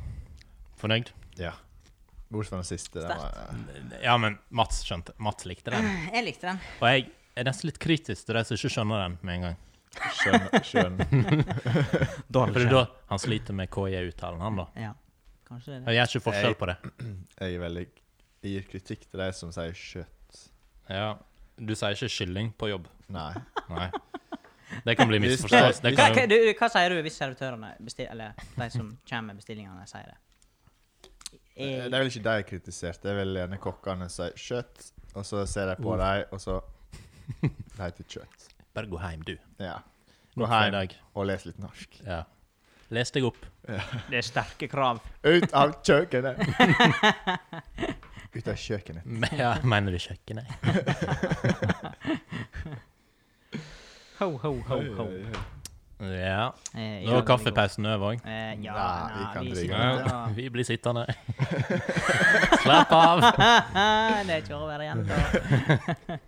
Speaker 2: Fornøyd?
Speaker 1: Ja. Bortsett fra den siste. Den var,
Speaker 2: Ja, men Mats skjønte. Mats likte den.
Speaker 3: Jeg likte den.
Speaker 2: Og jeg er nesten litt kritisk til de som ikke skjønner den med en gang.
Speaker 1: skjønn, skjønn.
Speaker 2: For det er da han sliter med KJ-uttalen, han da.
Speaker 3: Ja, kanskje det er det.
Speaker 2: Jeg gjør ikke forskjell på det.
Speaker 1: Jeg er veldig Jeg gir kritikk til de som sier kjøtt.
Speaker 2: Ja, Du sier ikke kylling på jobb.
Speaker 3: *laughs*
Speaker 1: Nei.
Speaker 2: Nei. Det kan bli
Speaker 1: Hvis det-
Speaker 2: misforståelse. Det
Speaker 3: Hva,
Speaker 2: kan
Speaker 3: hva,
Speaker 2: jo
Speaker 3: du, hva sier du hvis servitørene bestiller, eller de som kommer med bestillingene, sier det?
Speaker 1: Det
Speaker 3: Eh,
Speaker 1: er vel ikke de jeg kritiserte. Det er vel gjerne kokkene som sier kjøtt, og så ser jeg på dem, og så *laughs* Det heter kjøtt.
Speaker 2: Bare gå hjem, du.
Speaker 1: Ja.
Speaker 2: Nå
Speaker 1: Gå
Speaker 2: for i
Speaker 1: hjem
Speaker 2: dag.
Speaker 1: og les litt norsk.
Speaker 2: Ja. Les deg opp.
Speaker 3: Det er sterke krav.
Speaker 1: Ut av kjøkkenet! Ut av kjøkkenet.
Speaker 2: Men- *laughs* Ja, mener du kjøkkenet?
Speaker 3: *laughs* Ho, ho, ho, ho.
Speaker 2: Ja.
Speaker 3: Eh,
Speaker 2: Nå
Speaker 3: ja,
Speaker 2: er kaffepausen over òg.
Speaker 3: Eh, ja,
Speaker 1: Nei, vi
Speaker 3: nei,
Speaker 1: kan
Speaker 3: vi
Speaker 1: drikke.
Speaker 3: sitter
Speaker 2: Ja,
Speaker 3: og-
Speaker 2: vi blir *laughs* sittende. Slapp av.
Speaker 3: *laughs* det er ikke over igjen. Da. *laughs*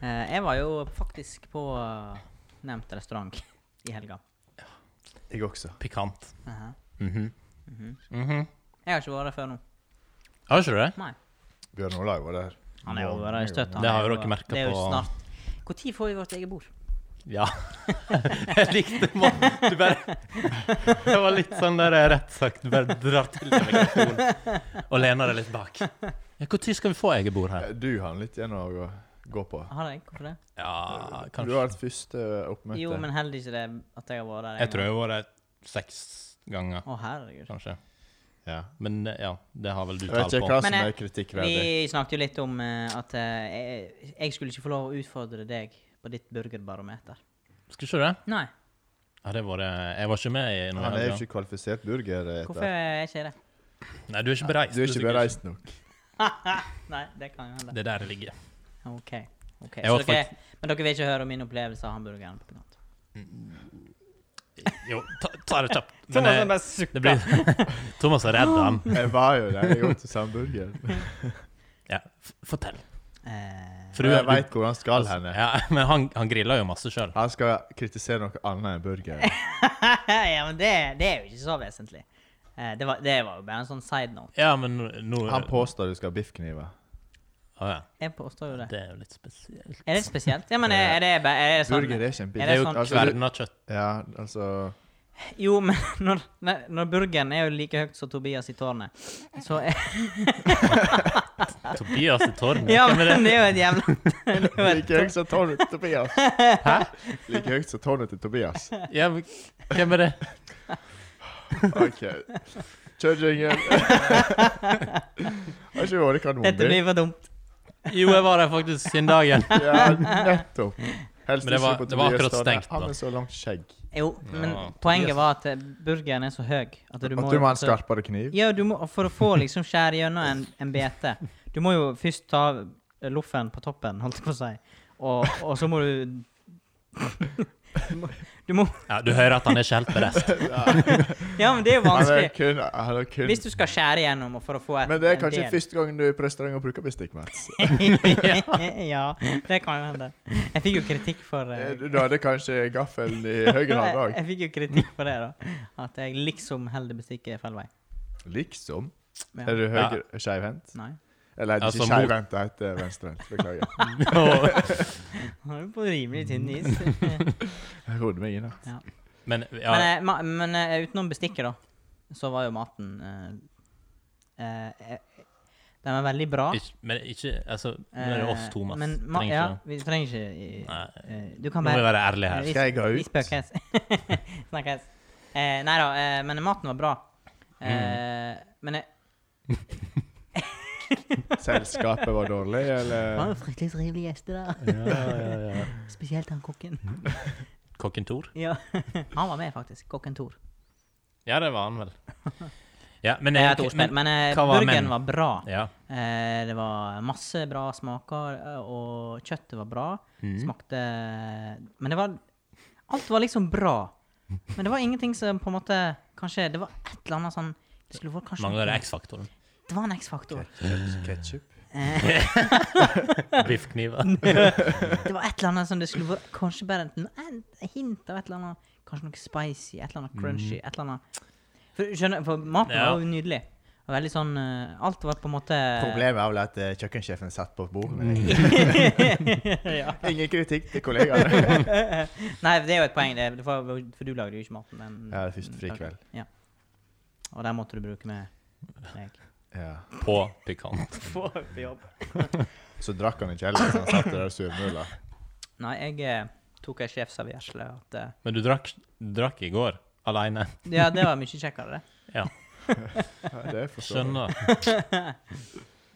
Speaker 3: Eh, jeg var jo faktisk på eh, nevnt restaurant i helga.
Speaker 1: Jeg også.
Speaker 2: Pikant.
Speaker 3: Aha.
Speaker 2: Mhm. Mhm.
Speaker 3: Jeg har ikke vært der før nå.
Speaker 2: Har ikke du det?
Speaker 3: Nei.
Speaker 1: Bjørn Olav var der.
Speaker 3: Han er jo vært i støtt. han
Speaker 2: Det har
Speaker 3: er
Speaker 2: jo
Speaker 3: jo-
Speaker 2: dere merket
Speaker 3: Det er jo
Speaker 2: på-
Speaker 3: snart. Når får vi vårt eget bord?
Speaker 2: Ja. *laughs* Jeg likte måten du bare Det var litt sånn der eh, rett sagt. Du bare drar til deg mikrofonen og lener deg litt bak. Ja, Når skal vi få eget bord her?
Speaker 1: Du han litt gjennom å gå. gå på.
Speaker 3: Har jeg? Hvorfor det?
Speaker 2: Ja,
Speaker 1: Du har
Speaker 2: kanskje.
Speaker 1: et første eh, oppmøte.
Speaker 3: Ah, Jo, men heller ikke det at jeg har vært der.
Speaker 2: Jeg tror jeg har vært der seks ganger,
Speaker 3: Å, herregud.
Speaker 2: kanskje.
Speaker 1: ja.
Speaker 2: Men eh, ja, det har vel du
Speaker 1: Jeg
Speaker 2: tall
Speaker 1: vet
Speaker 2: på.
Speaker 1: ikke hva som
Speaker 3: Men, eh,
Speaker 1: er kritikkverdig.
Speaker 3: Vi snakket jo litt om eh, at eh, jeg, jeg skulle ikke få lov å utfordre deg på ditt burgerbarometer.
Speaker 2: Skal ikke du det?
Speaker 3: Nei,
Speaker 2: Ja, det var det. Jeg var ikke med i noe.
Speaker 1: Han er jo
Speaker 2: helg,
Speaker 1: ikke kvalifisert burger. eh, etter.
Speaker 3: hvorfor er jeg ikke det? *laughs*
Speaker 2: da. Nei, du er ikke bereist.
Speaker 1: Du er ikke
Speaker 2: sikkert
Speaker 1: bereist nok.
Speaker 3: Nei, det kan jo hende.
Speaker 2: Det er der det ligger.
Speaker 3: OK. ok.
Speaker 2: Jeg
Speaker 3: Så
Speaker 2: var
Speaker 3: dere, men dere vil ikke høre om min opplevelse av hamburgeren? på Knott?
Speaker 2: Jo, ta, ta det kjapt. Men,
Speaker 3: *laughs* Thomas
Speaker 2: eh,
Speaker 3: han bare sukker.
Speaker 2: det blir, *laughs* Thomas har redda han.
Speaker 1: Jeg var jo der. Jeg åt
Speaker 2: *laughs*
Speaker 1: hamburger.
Speaker 2: Ja, f- fortell.
Speaker 3: Eh, *laughs*
Speaker 2: For
Speaker 1: Og
Speaker 2: du-
Speaker 1: jeg
Speaker 2: du-
Speaker 1: veit hvor han skal hen.
Speaker 2: Ja, *laughs* men han, han griller jo masse sjøl.
Speaker 1: Han skal kritisere noe annet enn
Speaker 3: *laughs*
Speaker 1: burger.
Speaker 3: ja, men det, det er jo ikke så vesentlig. Eh, det, var, det var jo bare en sånn side note.
Speaker 2: Ja, men nå
Speaker 1: Han påstår du skal ha biffkniver.
Speaker 2: Å, ja.
Speaker 3: Jeg påstår jo det.
Speaker 2: Det er jo litt spesielt.
Speaker 3: Er det spesielt? Ja, men er, er det bare er det sånn,
Speaker 1: Burger er ikke en
Speaker 3: Er
Speaker 2: Det
Speaker 1: biff.
Speaker 2: er jo
Speaker 3: sånn-
Speaker 1: Altså, du-
Speaker 2: kverna kjøtt.
Speaker 1: Ja, altså
Speaker 3: Jo, men *laughs* når, nei, når burgeren er jo like høyt som Tobias i tårnet, så
Speaker 1: *laughs*
Speaker 3: er
Speaker 2: Tobias i tårnet?
Speaker 3: Ja,
Speaker 2: Hvem er
Speaker 3: men
Speaker 2: det?
Speaker 3: det er jo et jævla
Speaker 1: *laughs*
Speaker 3: det er jo et-
Speaker 1: Like høyt som tårnet til
Speaker 3: *laughs*
Speaker 1: Tobias. Like høyt som tårnet til Tobias.
Speaker 2: Ja, men hvem er det?
Speaker 1: OK. Kjør jingle. Har ikke
Speaker 3: *laughs*
Speaker 1: vært
Speaker 3: Dette
Speaker 1: kanonbiff.
Speaker 3: blir for dumt.
Speaker 2: Jo, jeg var der faktisk siden dagen.
Speaker 1: Ja, nettopp. Helst
Speaker 2: Men det
Speaker 1: ikke
Speaker 2: var-
Speaker 1: på
Speaker 2: det var
Speaker 1: Tobias
Speaker 2: akkurat
Speaker 1: tårne.
Speaker 2: stengt, da.
Speaker 1: Han med så langt skjegg.
Speaker 3: Jo, men
Speaker 2: Ja.
Speaker 3: poenget var at eh, burgeren er så høy at du må
Speaker 1: At du må ha en skarpere kniv. *laughs*
Speaker 3: Ja, du må, for å få liksom skjære gjennom en, en bete Du må jo først ta eh, loffen på toppen, holdt jeg på å si, og, og så må du du må- Du må
Speaker 2: Ja, Du hører at han er ikke helt berest.
Speaker 3: Ja, men det er jo
Speaker 1: Han er
Speaker 3: vanskelig.
Speaker 1: kun, han er kun.
Speaker 3: Hvis du skal skjære gjennom og for å få *laughs* et
Speaker 1: Men det er
Speaker 3: en
Speaker 1: kanskje
Speaker 3: del.
Speaker 1: første gangen du er på restaurant og bruker bestikk, Mats. *laughs*
Speaker 3: ja, det kan jo hende. *laughs* Jeg fikk jo kritikk for eh,
Speaker 1: Eh, Du hadde kanskje gaffelen i
Speaker 3: *laughs*
Speaker 1: høyre
Speaker 3: jeg,
Speaker 1: hånd òg.
Speaker 3: jeg fikk jo kritikk for det, da. At jeg liksom holder bestikket feil vei.
Speaker 1: Liksom.
Speaker 3: Ja.
Speaker 1: Er du høyre skeivhendt? *laughs*
Speaker 3: Nei.
Speaker 1: Eller er det
Speaker 2: Altså,
Speaker 1: ikke
Speaker 2: mot-
Speaker 1: skeivhendt, det heter venstrehendt. Beklager.
Speaker 2: Og-
Speaker 3: *laughs* Nå er du på rimelig tynn
Speaker 1: *laughs*
Speaker 3: is.
Speaker 1: Jeg rodde meg inn her.
Speaker 2: Men ja,
Speaker 3: Men, eh, ma- men eh, utenom bestikket, da, så var jo maten eh, eh, eh, Den var veldig bra.
Speaker 2: ikke, men ikke Altså, nå er det oss,
Speaker 3: Eh,
Speaker 2: Thomas.
Speaker 3: Men ma
Speaker 2: Trenger
Speaker 3: ja,
Speaker 2: ikke
Speaker 3: vi trenger ikke
Speaker 2: Nei.
Speaker 3: eh, Du
Speaker 2: Nå
Speaker 3: kan
Speaker 2: må vi
Speaker 3: bare
Speaker 2: være ærlige her.
Speaker 3: Vi-
Speaker 1: Skal jeg gå
Speaker 3: Vi
Speaker 1: ut?
Speaker 3: spøkes. *laughs* Snakkes. Eh, nei da, eh, men maten var bra. Eh,
Speaker 2: Mm.
Speaker 3: Men jeg
Speaker 1: Selskapet var dårlig,
Speaker 3: det var
Speaker 1: eller?
Speaker 3: jo fryktelig trivelige gjester der.
Speaker 2: *laughs*
Speaker 3: Spesielt han kokken.
Speaker 2: Kokken Tor?
Speaker 3: *laughs* Ja, Han var med, faktisk. Kokken Tor.
Speaker 2: Ja, det var han
Speaker 3: *laughs*
Speaker 2: vel. Ja, men,
Speaker 3: Det er
Speaker 2: eh,
Speaker 3: et ordspill, men eh,
Speaker 2: hva var
Speaker 3: burgeren
Speaker 2: men?
Speaker 3: var bra.
Speaker 2: ja.
Speaker 3: Eh, Det var masse bra smaker, eh, og kjøttet var bra.
Speaker 2: Mm.
Speaker 3: Smakte eh, Men det var Alt var liksom bra. Men det var ingenting som på en måte Kanskje Det var et eller annet sånn Det skulle vært kanskje
Speaker 2: Mangler det X-faktoren?
Speaker 3: Det var en X-faktor.
Speaker 1: Ketchup?
Speaker 3: Eh,
Speaker 2: Biffkniver?
Speaker 3: Det var et eller annet som det skulle vært Kanskje bare en, en hint av et eller annet Kanskje noe spicy, et eller annet crunchy, et eller annet For, skjønner, for maten
Speaker 2: Ja.
Speaker 3: var jo nydelig. Og veldig sånn eh, Mm. Alt var på en måte
Speaker 1: Problemet er vel at eh, kjøkkensjefen satt på bordet.
Speaker 3: *laughs* ja. *laughs*
Speaker 1: Ingen kritikk til *laughs* kollegaene.
Speaker 3: Nei, det er jo et poeng, det, er- for, for du lagde jo ikke maten. Den,
Speaker 1: Ja, det er første frikveld.
Speaker 3: Ja. Og der måtte du bruke med meg.
Speaker 1: Ja.
Speaker 2: På pikant.
Speaker 3: *laughs* Få opp jobb.
Speaker 1: Så drakk han i kjelleren, så han satt der og surmula.
Speaker 3: Nei, jeg eh, tok ei sjefsavgjørelse at eh,
Speaker 2: Men du drakk, drakk i går? Aleine?
Speaker 3: Ja, det var mye kjekkere, det.
Speaker 2: Ja.
Speaker 1: Ja, det forstår jeg.
Speaker 2: Skjønner.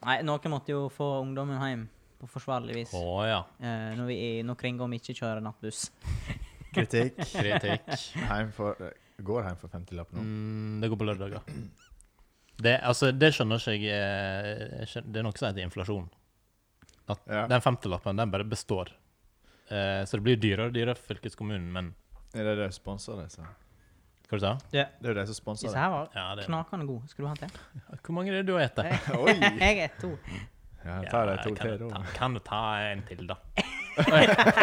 Speaker 3: Nei, noen måtte jo få ungdommen hjem på forsvarlig vis.
Speaker 2: Å ja.
Speaker 3: Eh, når, vi, når Kringom ikke kjører nattbuss.
Speaker 1: Kritikk.
Speaker 2: Kritikk.
Speaker 1: Heim for, eh, går hjem for 50-lapp nå.
Speaker 2: Mm, det går på lørdager. Det, altså, det skjønner ikke jeg eh, jeg skjøn- Det er noe som heter inflasjon. At
Speaker 1: Ja.
Speaker 2: Den femtelappen den bare består. Eh, så det blir dyrere og dyrere for fylkeskommunen, men
Speaker 1: Er det det som sponser det? Så?
Speaker 2: Hva du sa
Speaker 1: Det er jo det som sponser
Speaker 3: Disse
Speaker 1: det.
Speaker 3: her var
Speaker 2: ja, det,
Speaker 3: knakende gode. Skal du ha en til?
Speaker 2: Hvor mange er det du har spist?
Speaker 3: *laughs*
Speaker 1: *laughs* Oi!
Speaker 3: Jeg er to.
Speaker 1: Ja, ta det to
Speaker 2: kan,
Speaker 1: til,
Speaker 2: du ta-
Speaker 1: da.
Speaker 2: kan du ta en til,
Speaker 3: *laughs*
Speaker 2: da?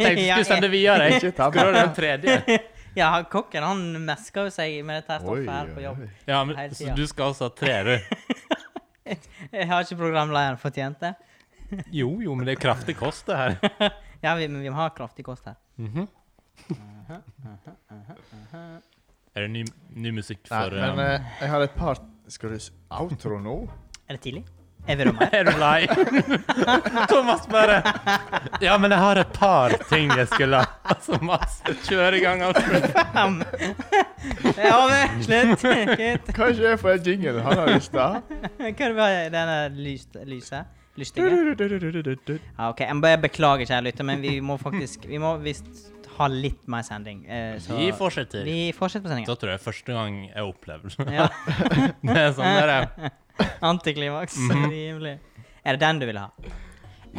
Speaker 2: jeg tenkte du
Speaker 3: Ja,
Speaker 2: skulle sende videre. jeg.
Speaker 1: Ikke ta
Speaker 2: Skal du ha den tredje?
Speaker 3: *laughs* Ja, han kokken han mesker jo seg med dette her
Speaker 1: Oi,
Speaker 3: stoffet her på jobb.
Speaker 1: oi.
Speaker 2: Ja, men,
Speaker 3: Helt
Speaker 2: så
Speaker 3: siden.
Speaker 2: du skal altså ha tre, du?
Speaker 3: Jeg har ikke programlederen fortjent det.
Speaker 2: Jo, jo, men det er kraftig kost, det her. *laughs* Mhm.
Speaker 3: Ja, vi, men vi må ha kraftig kost her.
Speaker 2: Er det ny, ny musikk
Speaker 1: Nei,
Speaker 2: for
Speaker 1: men
Speaker 2: um,
Speaker 1: eh, jeg har et par Skal du s- outro nå?
Speaker 3: Er det tidlig? Er vi da
Speaker 2: *laughs*
Speaker 3: mer?
Speaker 2: *laughs* Er du lei? Thomas bare *laughs* Ja, men jeg har et par ting jeg skulle *laughs* ha. Altså, Mats, kjør i gang. altså. Alfred.
Speaker 3: Fem. ja, men slutt. *laughs* Kutt.
Speaker 1: Hva skjer for en jingle han har lyst til? å ha?
Speaker 3: Hva er det vi har i denne lyst, lyset? Lystige? Ja, OK. Jeg bare beklager, kjære lytter, men vi må faktisk Vi må visst ha litt mer sending. eh, så-
Speaker 2: Vi fortsetter.
Speaker 3: Vi fortsetter på
Speaker 2: Da
Speaker 3: sendinga.
Speaker 2: tror jeg første gang jeg opplevde det.
Speaker 3: Ja.
Speaker 2: *laughs* Det er sånn der, eh,
Speaker 3: Antiklimaks.
Speaker 2: Mhm.
Speaker 3: Rimelig. Er det den du ville ha?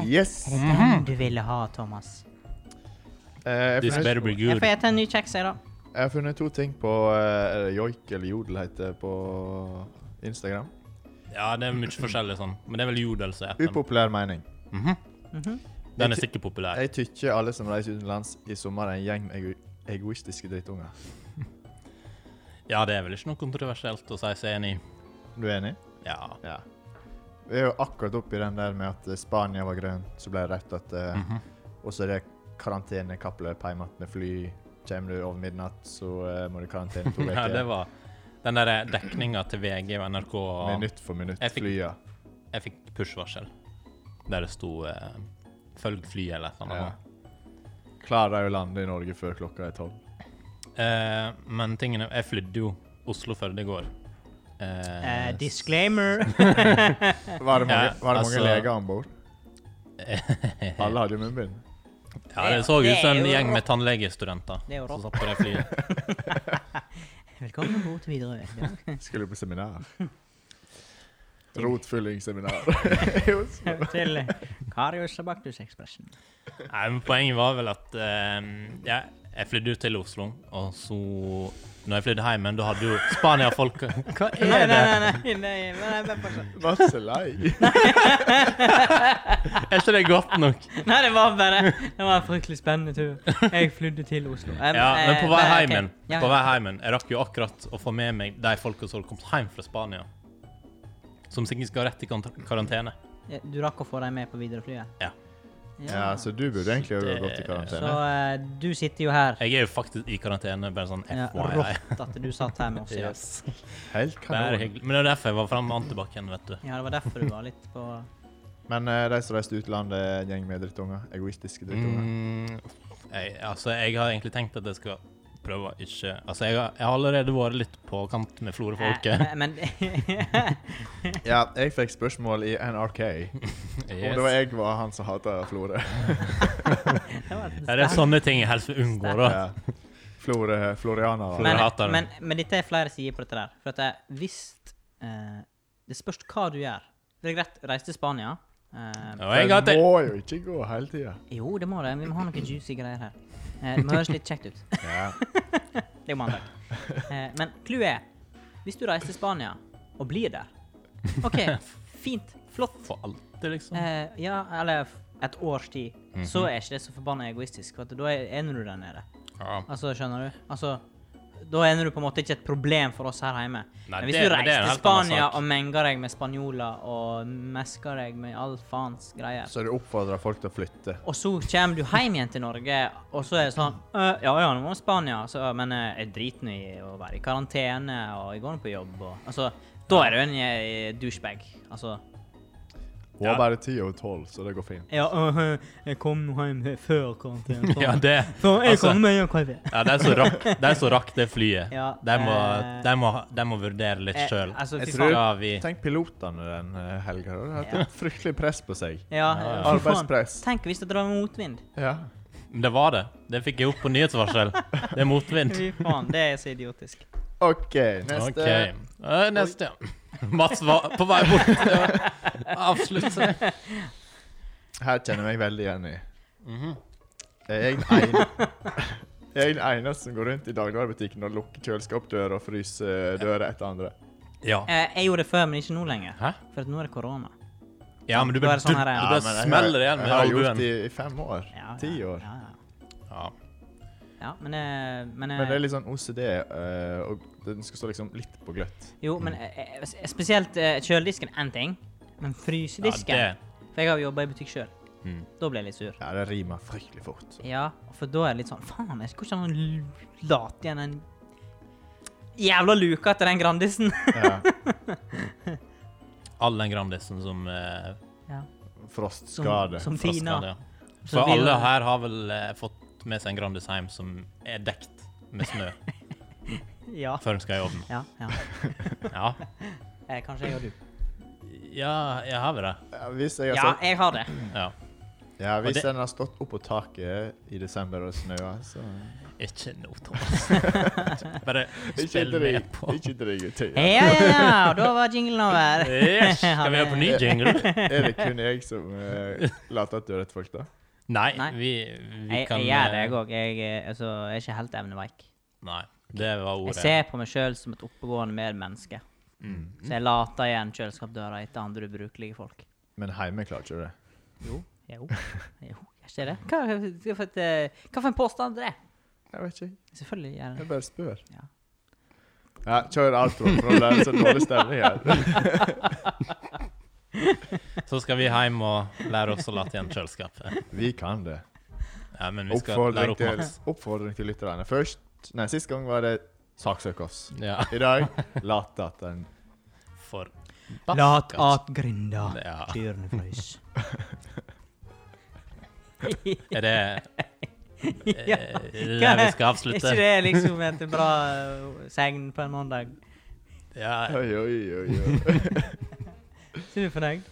Speaker 1: Yes.
Speaker 3: Er
Speaker 2: Mhm.
Speaker 3: det den du ville ha, Thomas?
Speaker 1: Eh, jeg,
Speaker 2: This
Speaker 1: har
Speaker 2: better
Speaker 1: funnet,
Speaker 2: be
Speaker 3: Jeg
Speaker 2: good.
Speaker 3: får ete en ny kjeks, jeg, da.
Speaker 1: jeg har funnet to ting på eh, er det joik eller jodel heter det på Instagram.
Speaker 2: Ja, det er mye forskjellig sånn. Men det er vel jodel som er den.
Speaker 1: Upopulær mening.
Speaker 2: Den er sikkert populær.
Speaker 1: Jeg tykker alle som reiser utenlands i sommer, er en gjeng med ego egoistiske drittunger.
Speaker 2: Ja, det er vel ikke noe kontroversielt å si seg enig i.
Speaker 1: Du er enig?
Speaker 2: Ja.
Speaker 1: Ja. Vi er jo akkurat oppi den der med at eh, Spania var grønn, så ble det rødt at eh,
Speaker 2: Mhm.
Speaker 1: Og så er det karantenekappløp hjemme med fly. Kommer du over midnatt, så eh, må du i karantene to
Speaker 2: *laughs* ja,
Speaker 1: uker.
Speaker 2: det var den der eh, dekninga til VG og NRK. og
Speaker 1: Minutt for minutt.
Speaker 2: Jeg fikk-
Speaker 1: Flya.
Speaker 2: Jeg fikk push-varsel der det sto eh, 'følg flyet' eller noe
Speaker 1: Ja.
Speaker 2: sånt.
Speaker 1: Klarer de å lande i Norge før klokka er tolv?
Speaker 2: Eh, men tingene Jeg flydde jo Oslo-Førde i går. Eh,
Speaker 3: Eh,
Speaker 2: *laughs*
Speaker 3: disclaimer.
Speaker 1: Var
Speaker 2: Ja,
Speaker 1: det mange, var det mange
Speaker 2: altså-
Speaker 1: leger om bord? Alle hadde jo munnbind.
Speaker 2: *laughs* ja, det så ut som en
Speaker 3: Det er jo
Speaker 2: gjeng med
Speaker 3: rått.
Speaker 2: tannlegestudenter
Speaker 3: Det er jo
Speaker 2: som
Speaker 3: rått.
Speaker 2: satt på det
Speaker 3: *laughs*
Speaker 2: flyet.
Speaker 3: Velkommen om bord til
Speaker 2: *laughs*
Speaker 3: Widerøe.
Speaker 1: Skulle på seminar. *laughs* Rotfyllingsseminar i Oslo.
Speaker 3: til eh, Karius og Baktusekspressen.
Speaker 2: Nei, men Poenget var vel at eh, ja, jeg flydde jo til Oslo, og så Når jeg flydde hjem, men da hadde jo Spania-folk Hva
Speaker 3: Nei,
Speaker 2: er det?
Speaker 3: nei, nei, nei, nei, nei, bare
Speaker 2: *laughs*
Speaker 3: fortsett.
Speaker 1: Mats er lei.
Speaker 2: Er ikke det godt nok?
Speaker 3: nei, det var bare Det var en fryktelig spennende tur. Jeg flydde til Oslo. Jeg-
Speaker 2: Ja, men
Speaker 3: jeg-
Speaker 2: på vei
Speaker 3: nei, eh, ok.
Speaker 2: hjem igjen.
Speaker 3: Ja,
Speaker 2: På vei hjem igjen. Jeg rakk jo akkurat å få med meg de folka som hadde kommet hjem fra Spania. Som sikkert skal rett i kant- karantene.
Speaker 3: ja. Du rakk å få dem med på Widerøe-flyet?
Speaker 2: Ja.
Speaker 1: Ja, så du burde egentlig ha gått i
Speaker 3: Så
Speaker 1: karantene.
Speaker 3: eh, du sitter jo her.
Speaker 2: Jeg er jo faktisk i karantene, bare sånn
Speaker 3: Ja,
Speaker 2: FYI.
Speaker 3: Rått at du satt her med oss i dag.
Speaker 2: Yes.
Speaker 1: Helt
Speaker 2: Det er
Speaker 1: kanon.
Speaker 2: hyggelig. Men det er derfor jeg var framme med antibac-en, vet du.
Speaker 3: Ja, det var derfor du var litt på
Speaker 1: Men eh, de som reiste utlandet, er en gjeng med drittunger. Egoistiske drittunger.
Speaker 2: Mm, jeg, altså, jeg har egentlig tenkt at jeg skal prøve å ikke Altså, jeg har, jeg har allerede vært litt *laughs* på kant med Florø-folket.
Speaker 3: Eh, eh, Men *laughs*
Speaker 1: Ja, jeg fikk spørsmål i NRK om det var
Speaker 2: Yes.
Speaker 1: jeg var han som hata
Speaker 2: *laughs*
Speaker 1: Florø.
Speaker 3: det var et
Speaker 2: Ja, Det sånn er sånne ting jeg helst vil unngå, da.
Speaker 1: Ja. Florø Florianere.
Speaker 2: Men-
Speaker 1: Men,
Speaker 2: hater det.
Speaker 3: men, men dette er flere sider på dette der. For at jeg, hvis eh, Det spørs hva du gjør. Det er greit, reise til Spania. eh,
Speaker 2: Og jeg har
Speaker 1: det
Speaker 2: tenkt
Speaker 1: må jo ikke gå hele tida.
Speaker 3: Jo, det må det. Vi må ha noen juicy greier her. Eh, det må høres litt kjekt ut. *laughs* Det er jo mandag. Eh, men clouet er Hvis du reiser til Spania og blir der OK, fint. Flott.
Speaker 2: For alltid, liksom.
Speaker 3: Eh, ja, eller f- et års tid.
Speaker 2: Mhm.
Speaker 3: Så er ikke det så forbanna egoistisk. For at da er ender du der nede.
Speaker 2: Ja.
Speaker 3: Altså, skjønner du? Altså, da ender du på en måte ikke et problem for oss her hjemme.
Speaker 2: Nei,
Speaker 3: Men hvis
Speaker 2: det-
Speaker 3: du
Speaker 2: men det er en
Speaker 3: reiser til
Speaker 2: helt annen
Speaker 3: Spania
Speaker 2: sak.
Speaker 3: og menger deg med spanjoler og mesker deg med all faens greier
Speaker 1: *laughs* Så du oppfordrer folk til å flytte.
Speaker 3: og så kommer du hjem igjen til Norge, og så er det sånn «Øh, Ja ja, nå må jeg til Spania, så, men eh, jeg driter nå i å være i karantene, og jeg går nå på jobb og Altså, da er du en eh, douchebag. Altså
Speaker 1: Hun
Speaker 2: Ja.
Speaker 1: var bare ti over tolv, så det går fint.
Speaker 3: Ja, øh, jeg kom nå hjem før karantene.
Speaker 2: *laughs* Ja, det altså-
Speaker 3: meg hjem kveld.
Speaker 2: Ja, de som rakk, de som rakk det flyet,
Speaker 3: Ja,
Speaker 2: de, må,
Speaker 3: eh,
Speaker 2: de, må, de må vurdere litt
Speaker 3: Eh,
Speaker 2: sjøl.
Speaker 3: altså, fy
Speaker 1: Jeg
Speaker 3: faen.
Speaker 1: tror-
Speaker 2: Skal vi
Speaker 1: Tenk pilotene den eh, helga. De har hatt et fryktelig press på seg.
Speaker 3: Ja, fy faen.
Speaker 2: ja.
Speaker 1: Arbeidspress.
Speaker 3: Tenk hvis det drar motvind.
Speaker 1: Ja.
Speaker 2: Det var det. Det fikk jeg opp på nyhetsvarsel. Det
Speaker 3: *laughs*
Speaker 2: er motvind.
Speaker 3: Fy faen, det er så idiotisk.
Speaker 1: OK, neste.
Speaker 2: OK. Eh, Neste. Mats var på vei bort til å avslutte.
Speaker 1: Her kjenner jeg meg veldig igjen i. Mhm.
Speaker 2: *laughs*
Speaker 1: Jeg er den ene Jeg er den eneste som går rundt i dagligvarebutikken og lukker kjøleskapdøra og fryser døra etter andre.
Speaker 2: Ja.
Speaker 3: Eh, jeg gjorde det før, men ikke nå lenger.
Speaker 2: Hæ?
Speaker 3: For at nå er det korona.
Speaker 2: Ja, men du
Speaker 3: Da er
Speaker 2: bare,
Speaker 3: det sånn her,
Speaker 2: du
Speaker 3: ja.
Speaker 2: bare
Speaker 3: Ja,
Speaker 1: men jeg har-
Speaker 2: smeller igjen
Speaker 1: Jeg
Speaker 2: med
Speaker 1: har gjort
Speaker 2: albuen.
Speaker 1: det i, i fem år.
Speaker 3: Ja,
Speaker 1: Ti
Speaker 3: ja,
Speaker 1: år.
Speaker 3: Ja, ja.
Speaker 2: Ja.
Speaker 3: ja men, eh, men, eh,
Speaker 1: Men det er litt sånn OCD, eh, og den skal stå liksom litt på gløtt.
Speaker 3: Jo, men eh, eh, spesielt eh, kjøledisken er én ting, men
Speaker 2: Ja,
Speaker 3: frysedisken
Speaker 2: det.
Speaker 3: For jeg har jo jobba i butikk sjøl.
Speaker 2: Mm.
Speaker 3: Da ble jeg litt sur.
Speaker 1: Ja, det rimer fryktelig fort.
Speaker 3: Ja, for da er jeg litt sånn Faen, jeg skulle ikke ha noen lat igjen en jævla luka til den Grandisen.
Speaker 1: Ja.
Speaker 2: all den Grandisen som eh,
Speaker 3: Ja.
Speaker 1: Frostskade.
Speaker 3: Som, som Tina.
Speaker 2: frostskader.
Speaker 3: Så
Speaker 2: For
Speaker 3: blir
Speaker 2: alle
Speaker 3: det-
Speaker 2: her har vel eh, fått med seg en Grandis hjem som er dekt med snø
Speaker 3: Ja.
Speaker 2: før den skal i ovnen.
Speaker 3: ja, ja.
Speaker 2: Ja.
Speaker 3: Eh, kanskje jeg og du.
Speaker 2: ja, jeg har vel det.
Speaker 1: Ja, hvis jeg
Speaker 3: Ja,
Speaker 1: har sett,
Speaker 3: jeg har det.
Speaker 2: Ja.
Speaker 1: ja,
Speaker 2: Og
Speaker 1: hvis
Speaker 2: det-
Speaker 1: den har stått oppå taket i desember og snøa, så
Speaker 2: Ikke nå,
Speaker 3: *laughs*
Speaker 2: Thomas. Bare spill
Speaker 1: drøy-
Speaker 2: med på.
Speaker 1: ikke drøy gutter.
Speaker 3: Ja, ja, ja. Da var jinglen
Speaker 2: *laughs*
Speaker 3: over. *laughs*
Speaker 2: Yes. Skal vi høre på ny jingle?
Speaker 1: Er det kun jeg som
Speaker 2: *laughs*
Speaker 1: eh, later til å rette folk, da?
Speaker 2: Nei,
Speaker 3: Nei.
Speaker 2: vi, vi
Speaker 3: Jeg,
Speaker 2: kan
Speaker 3: jeg gjør det,
Speaker 2: eh,
Speaker 3: jeg òg. Jeg, eh, altså, jeg er ikke helt evneveik.
Speaker 2: Nei, det var
Speaker 3: Jeg
Speaker 2: ordet.
Speaker 3: ser på meg sjøl som et oppegående medmenneske.
Speaker 1: Mm.
Speaker 3: Så jeg later igjen kjøleskapdøra etter andre ubrukelige folk.
Speaker 1: Men heime klarer ikke det.
Speaker 3: Jo, jo, jo. Gjør ikke det? Hva, hva, for et, eh, hva for en påstand er det?
Speaker 1: Jeg vet ikke.
Speaker 3: Selvfølgelig gjør jeg *laughs* det.
Speaker 1: Jeg bare spør.
Speaker 3: Ja.
Speaker 1: Ja, kjør outro, for det er så dårlig stemning her.
Speaker 2: Så skal vi hjem og lære oss å late igjen kjøleskapet.
Speaker 1: *laughs* Vi kan det.
Speaker 2: Ja, men vi skal lære
Speaker 1: Oppfordring
Speaker 2: opp
Speaker 1: til,
Speaker 2: Mats.
Speaker 1: oppfordring til lytterne. Først Nei, sist gang var det saksøk oss.
Speaker 2: Ja,
Speaker 1: I *laughs* dag later at den
Speaker 2: for
Speaker 3: Lat at grinda
Speaker 2: Ja.
Speaker 3: kyrne frøys.
Speaker 2: Er det
Speaker 3: *laughs* Ja.
Speaker 2: eh, der vi skal
Speaker 3: Er
Speaker 2: avslutte?
Speaker 3: ikke det liksom et bra eh, segn på en mandag?
Speaker 2: Ja,
Speaker 1: Oi, oi, oi. oi. *laughs*
Speaker 3: Så er du fornøyd?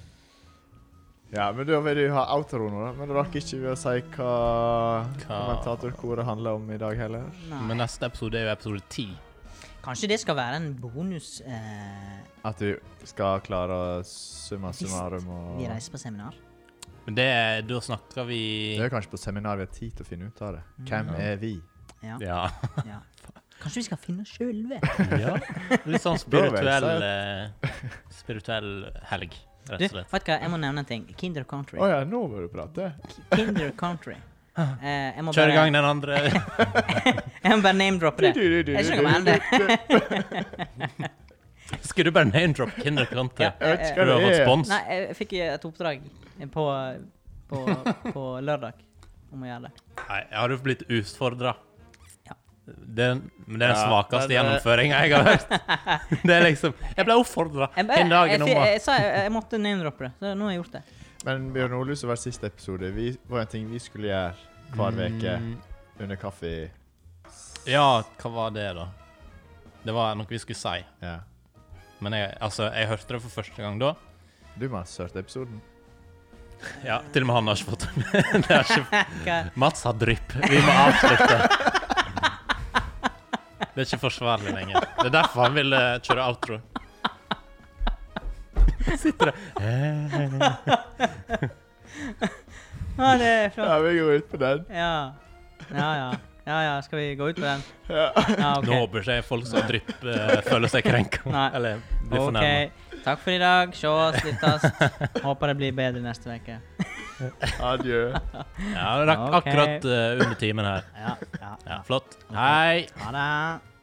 Speaker 1: Ja, men da vil du ha outro nå, da. Men du rakk ikke å si hva kommentatorkoret handler om i dag heller.
Speaker 3: Nei.
Speaker 2: men eh, neste episode er jo episode ti.
Speaker 3: Kanskje det skal være en bonus eh,
Speaker 1: At vi skal klare å summa
Speaker 3: Visst.
Speaker 1: summarum og
Speaker 3: vi reiser på seminar?
Speaker 2: Men det, da snakker vi
Speaker 1: Det er kanskje på seminar vi har tid til å finne ut av det.
Speaker 3: Mm.
Speaker 1: Hvem er vi?
Speaker 3: Ja.
Speaker 2: Ja. *laughs*
Speaker 3: ja. Kanskje vi skal finne oss sjølve?
Speaker 2: ja. Litt sånn
Speaker 1: Da vel,
Speaker 2: spirituell eh, Spirituell helg,
Speaker 3: Du,
Speaker 2: rett og slett.
Speaker 3: vet du hva, jeg må nevne en ting. Kinder Country.
Speaker 1: Å ja, nå bør du prate.
Speaker 3: Kinder Country. Eh, jeg må
Speaker 2: Ah. Kjør i
Speaker 3: bare-
Speaker 2: gang den andre.
Speaker 3: *laughs*
Speaker 2: *laughs*
Speaker 3: Jeg må bare name-droppe det. Jeg skjønner hva det er.
Speaker 2: Skulle du bare name-drop Kinder Country?
Speaker 3: Ja.
Speaker 1: Jeg vet ikke
Speaker 2: Du
Speaker 1: hva
Speaker 2: har fått
Speaker 1: det er.
Speaker 2: spons.
Speaker 3: *laughs* Nei, jeg fikk et oppdrag på, på, på lørdag om å gjøre det. *laughs*
Speaker 2: Nei, jeg har jo blitt utfordra.
Speaker 3: Ja.
Speaker 2: Det er men det er den
Speaker 1: Ja,
Speaker 2: svakeste
Speaker 1: men, eh,
Speaker 2: gjennomføringa jeg har hørt. *laughs* Det er liksom Jeg ble oppfordra
Speaker 3: Jeg,
Speaker 2: den
Speaker 3: bare- jeg,
Speaker 2: dagen
Speaker 3: fi-
Speaker 2: om å
Speaker 3: jeg sa jeg, jeg måtte name-droppe det, så nå har jeg gjort det.
Speaker 1: Men Bjørn Ole, som var siste episode, vi, var en ting vi skulle gjøre hver uke
Speaker 2: Mm,
Speaker 1: under kaffe.
Speaker 2: Ja, hva var det, da? Det var noe vi skulle si.
Speaker 1: Ja.
Speaker 2: Men jeg, altså, jeg hørte det for første gang da.
Speaker 1: Du må ha hørt episoden.
Speaker 2: Ja, Til og med han har ikke fått *laughs* det med. det. er Ikke,
Speaker 3: Hva-
Speaker 2: Mats har drypp. Vi må avslutte. Det er ikke forsvarlig lenger. Det er derfor han ville kjøre outro. Sitter der Eh,
Speaker 3: Ja, det er flott.
Speaker 1: Ja, vi går ut på den.
Speaker 3: Ja. Ja, ja. Ja, ja. Skal vi gå ut på den?
Speaker 1: Ja.
Speaker 3: Ja, ok.
Speaker 2: Nå håper ikke jeg folk som drypp eh, føler seg krenka.
Speaker 3: Nei.
Speaker 2: Eller blir
Speaker 3: Ok.
Speaker 2: fornærma.
Speaker 3: Takk for i dag. Se oss, lyttes. Håper det blir bedre neste uke.
Speaker 1: Adjø.
Speaker 2: Ja, det rakk
Speaker 3: Ok.
Speaker 2: akkurat eh, under timen her.
Speaker 3: Ja, ja.
Speaker 2: Ja, flott. Hei.
Speaker 3: Ha det.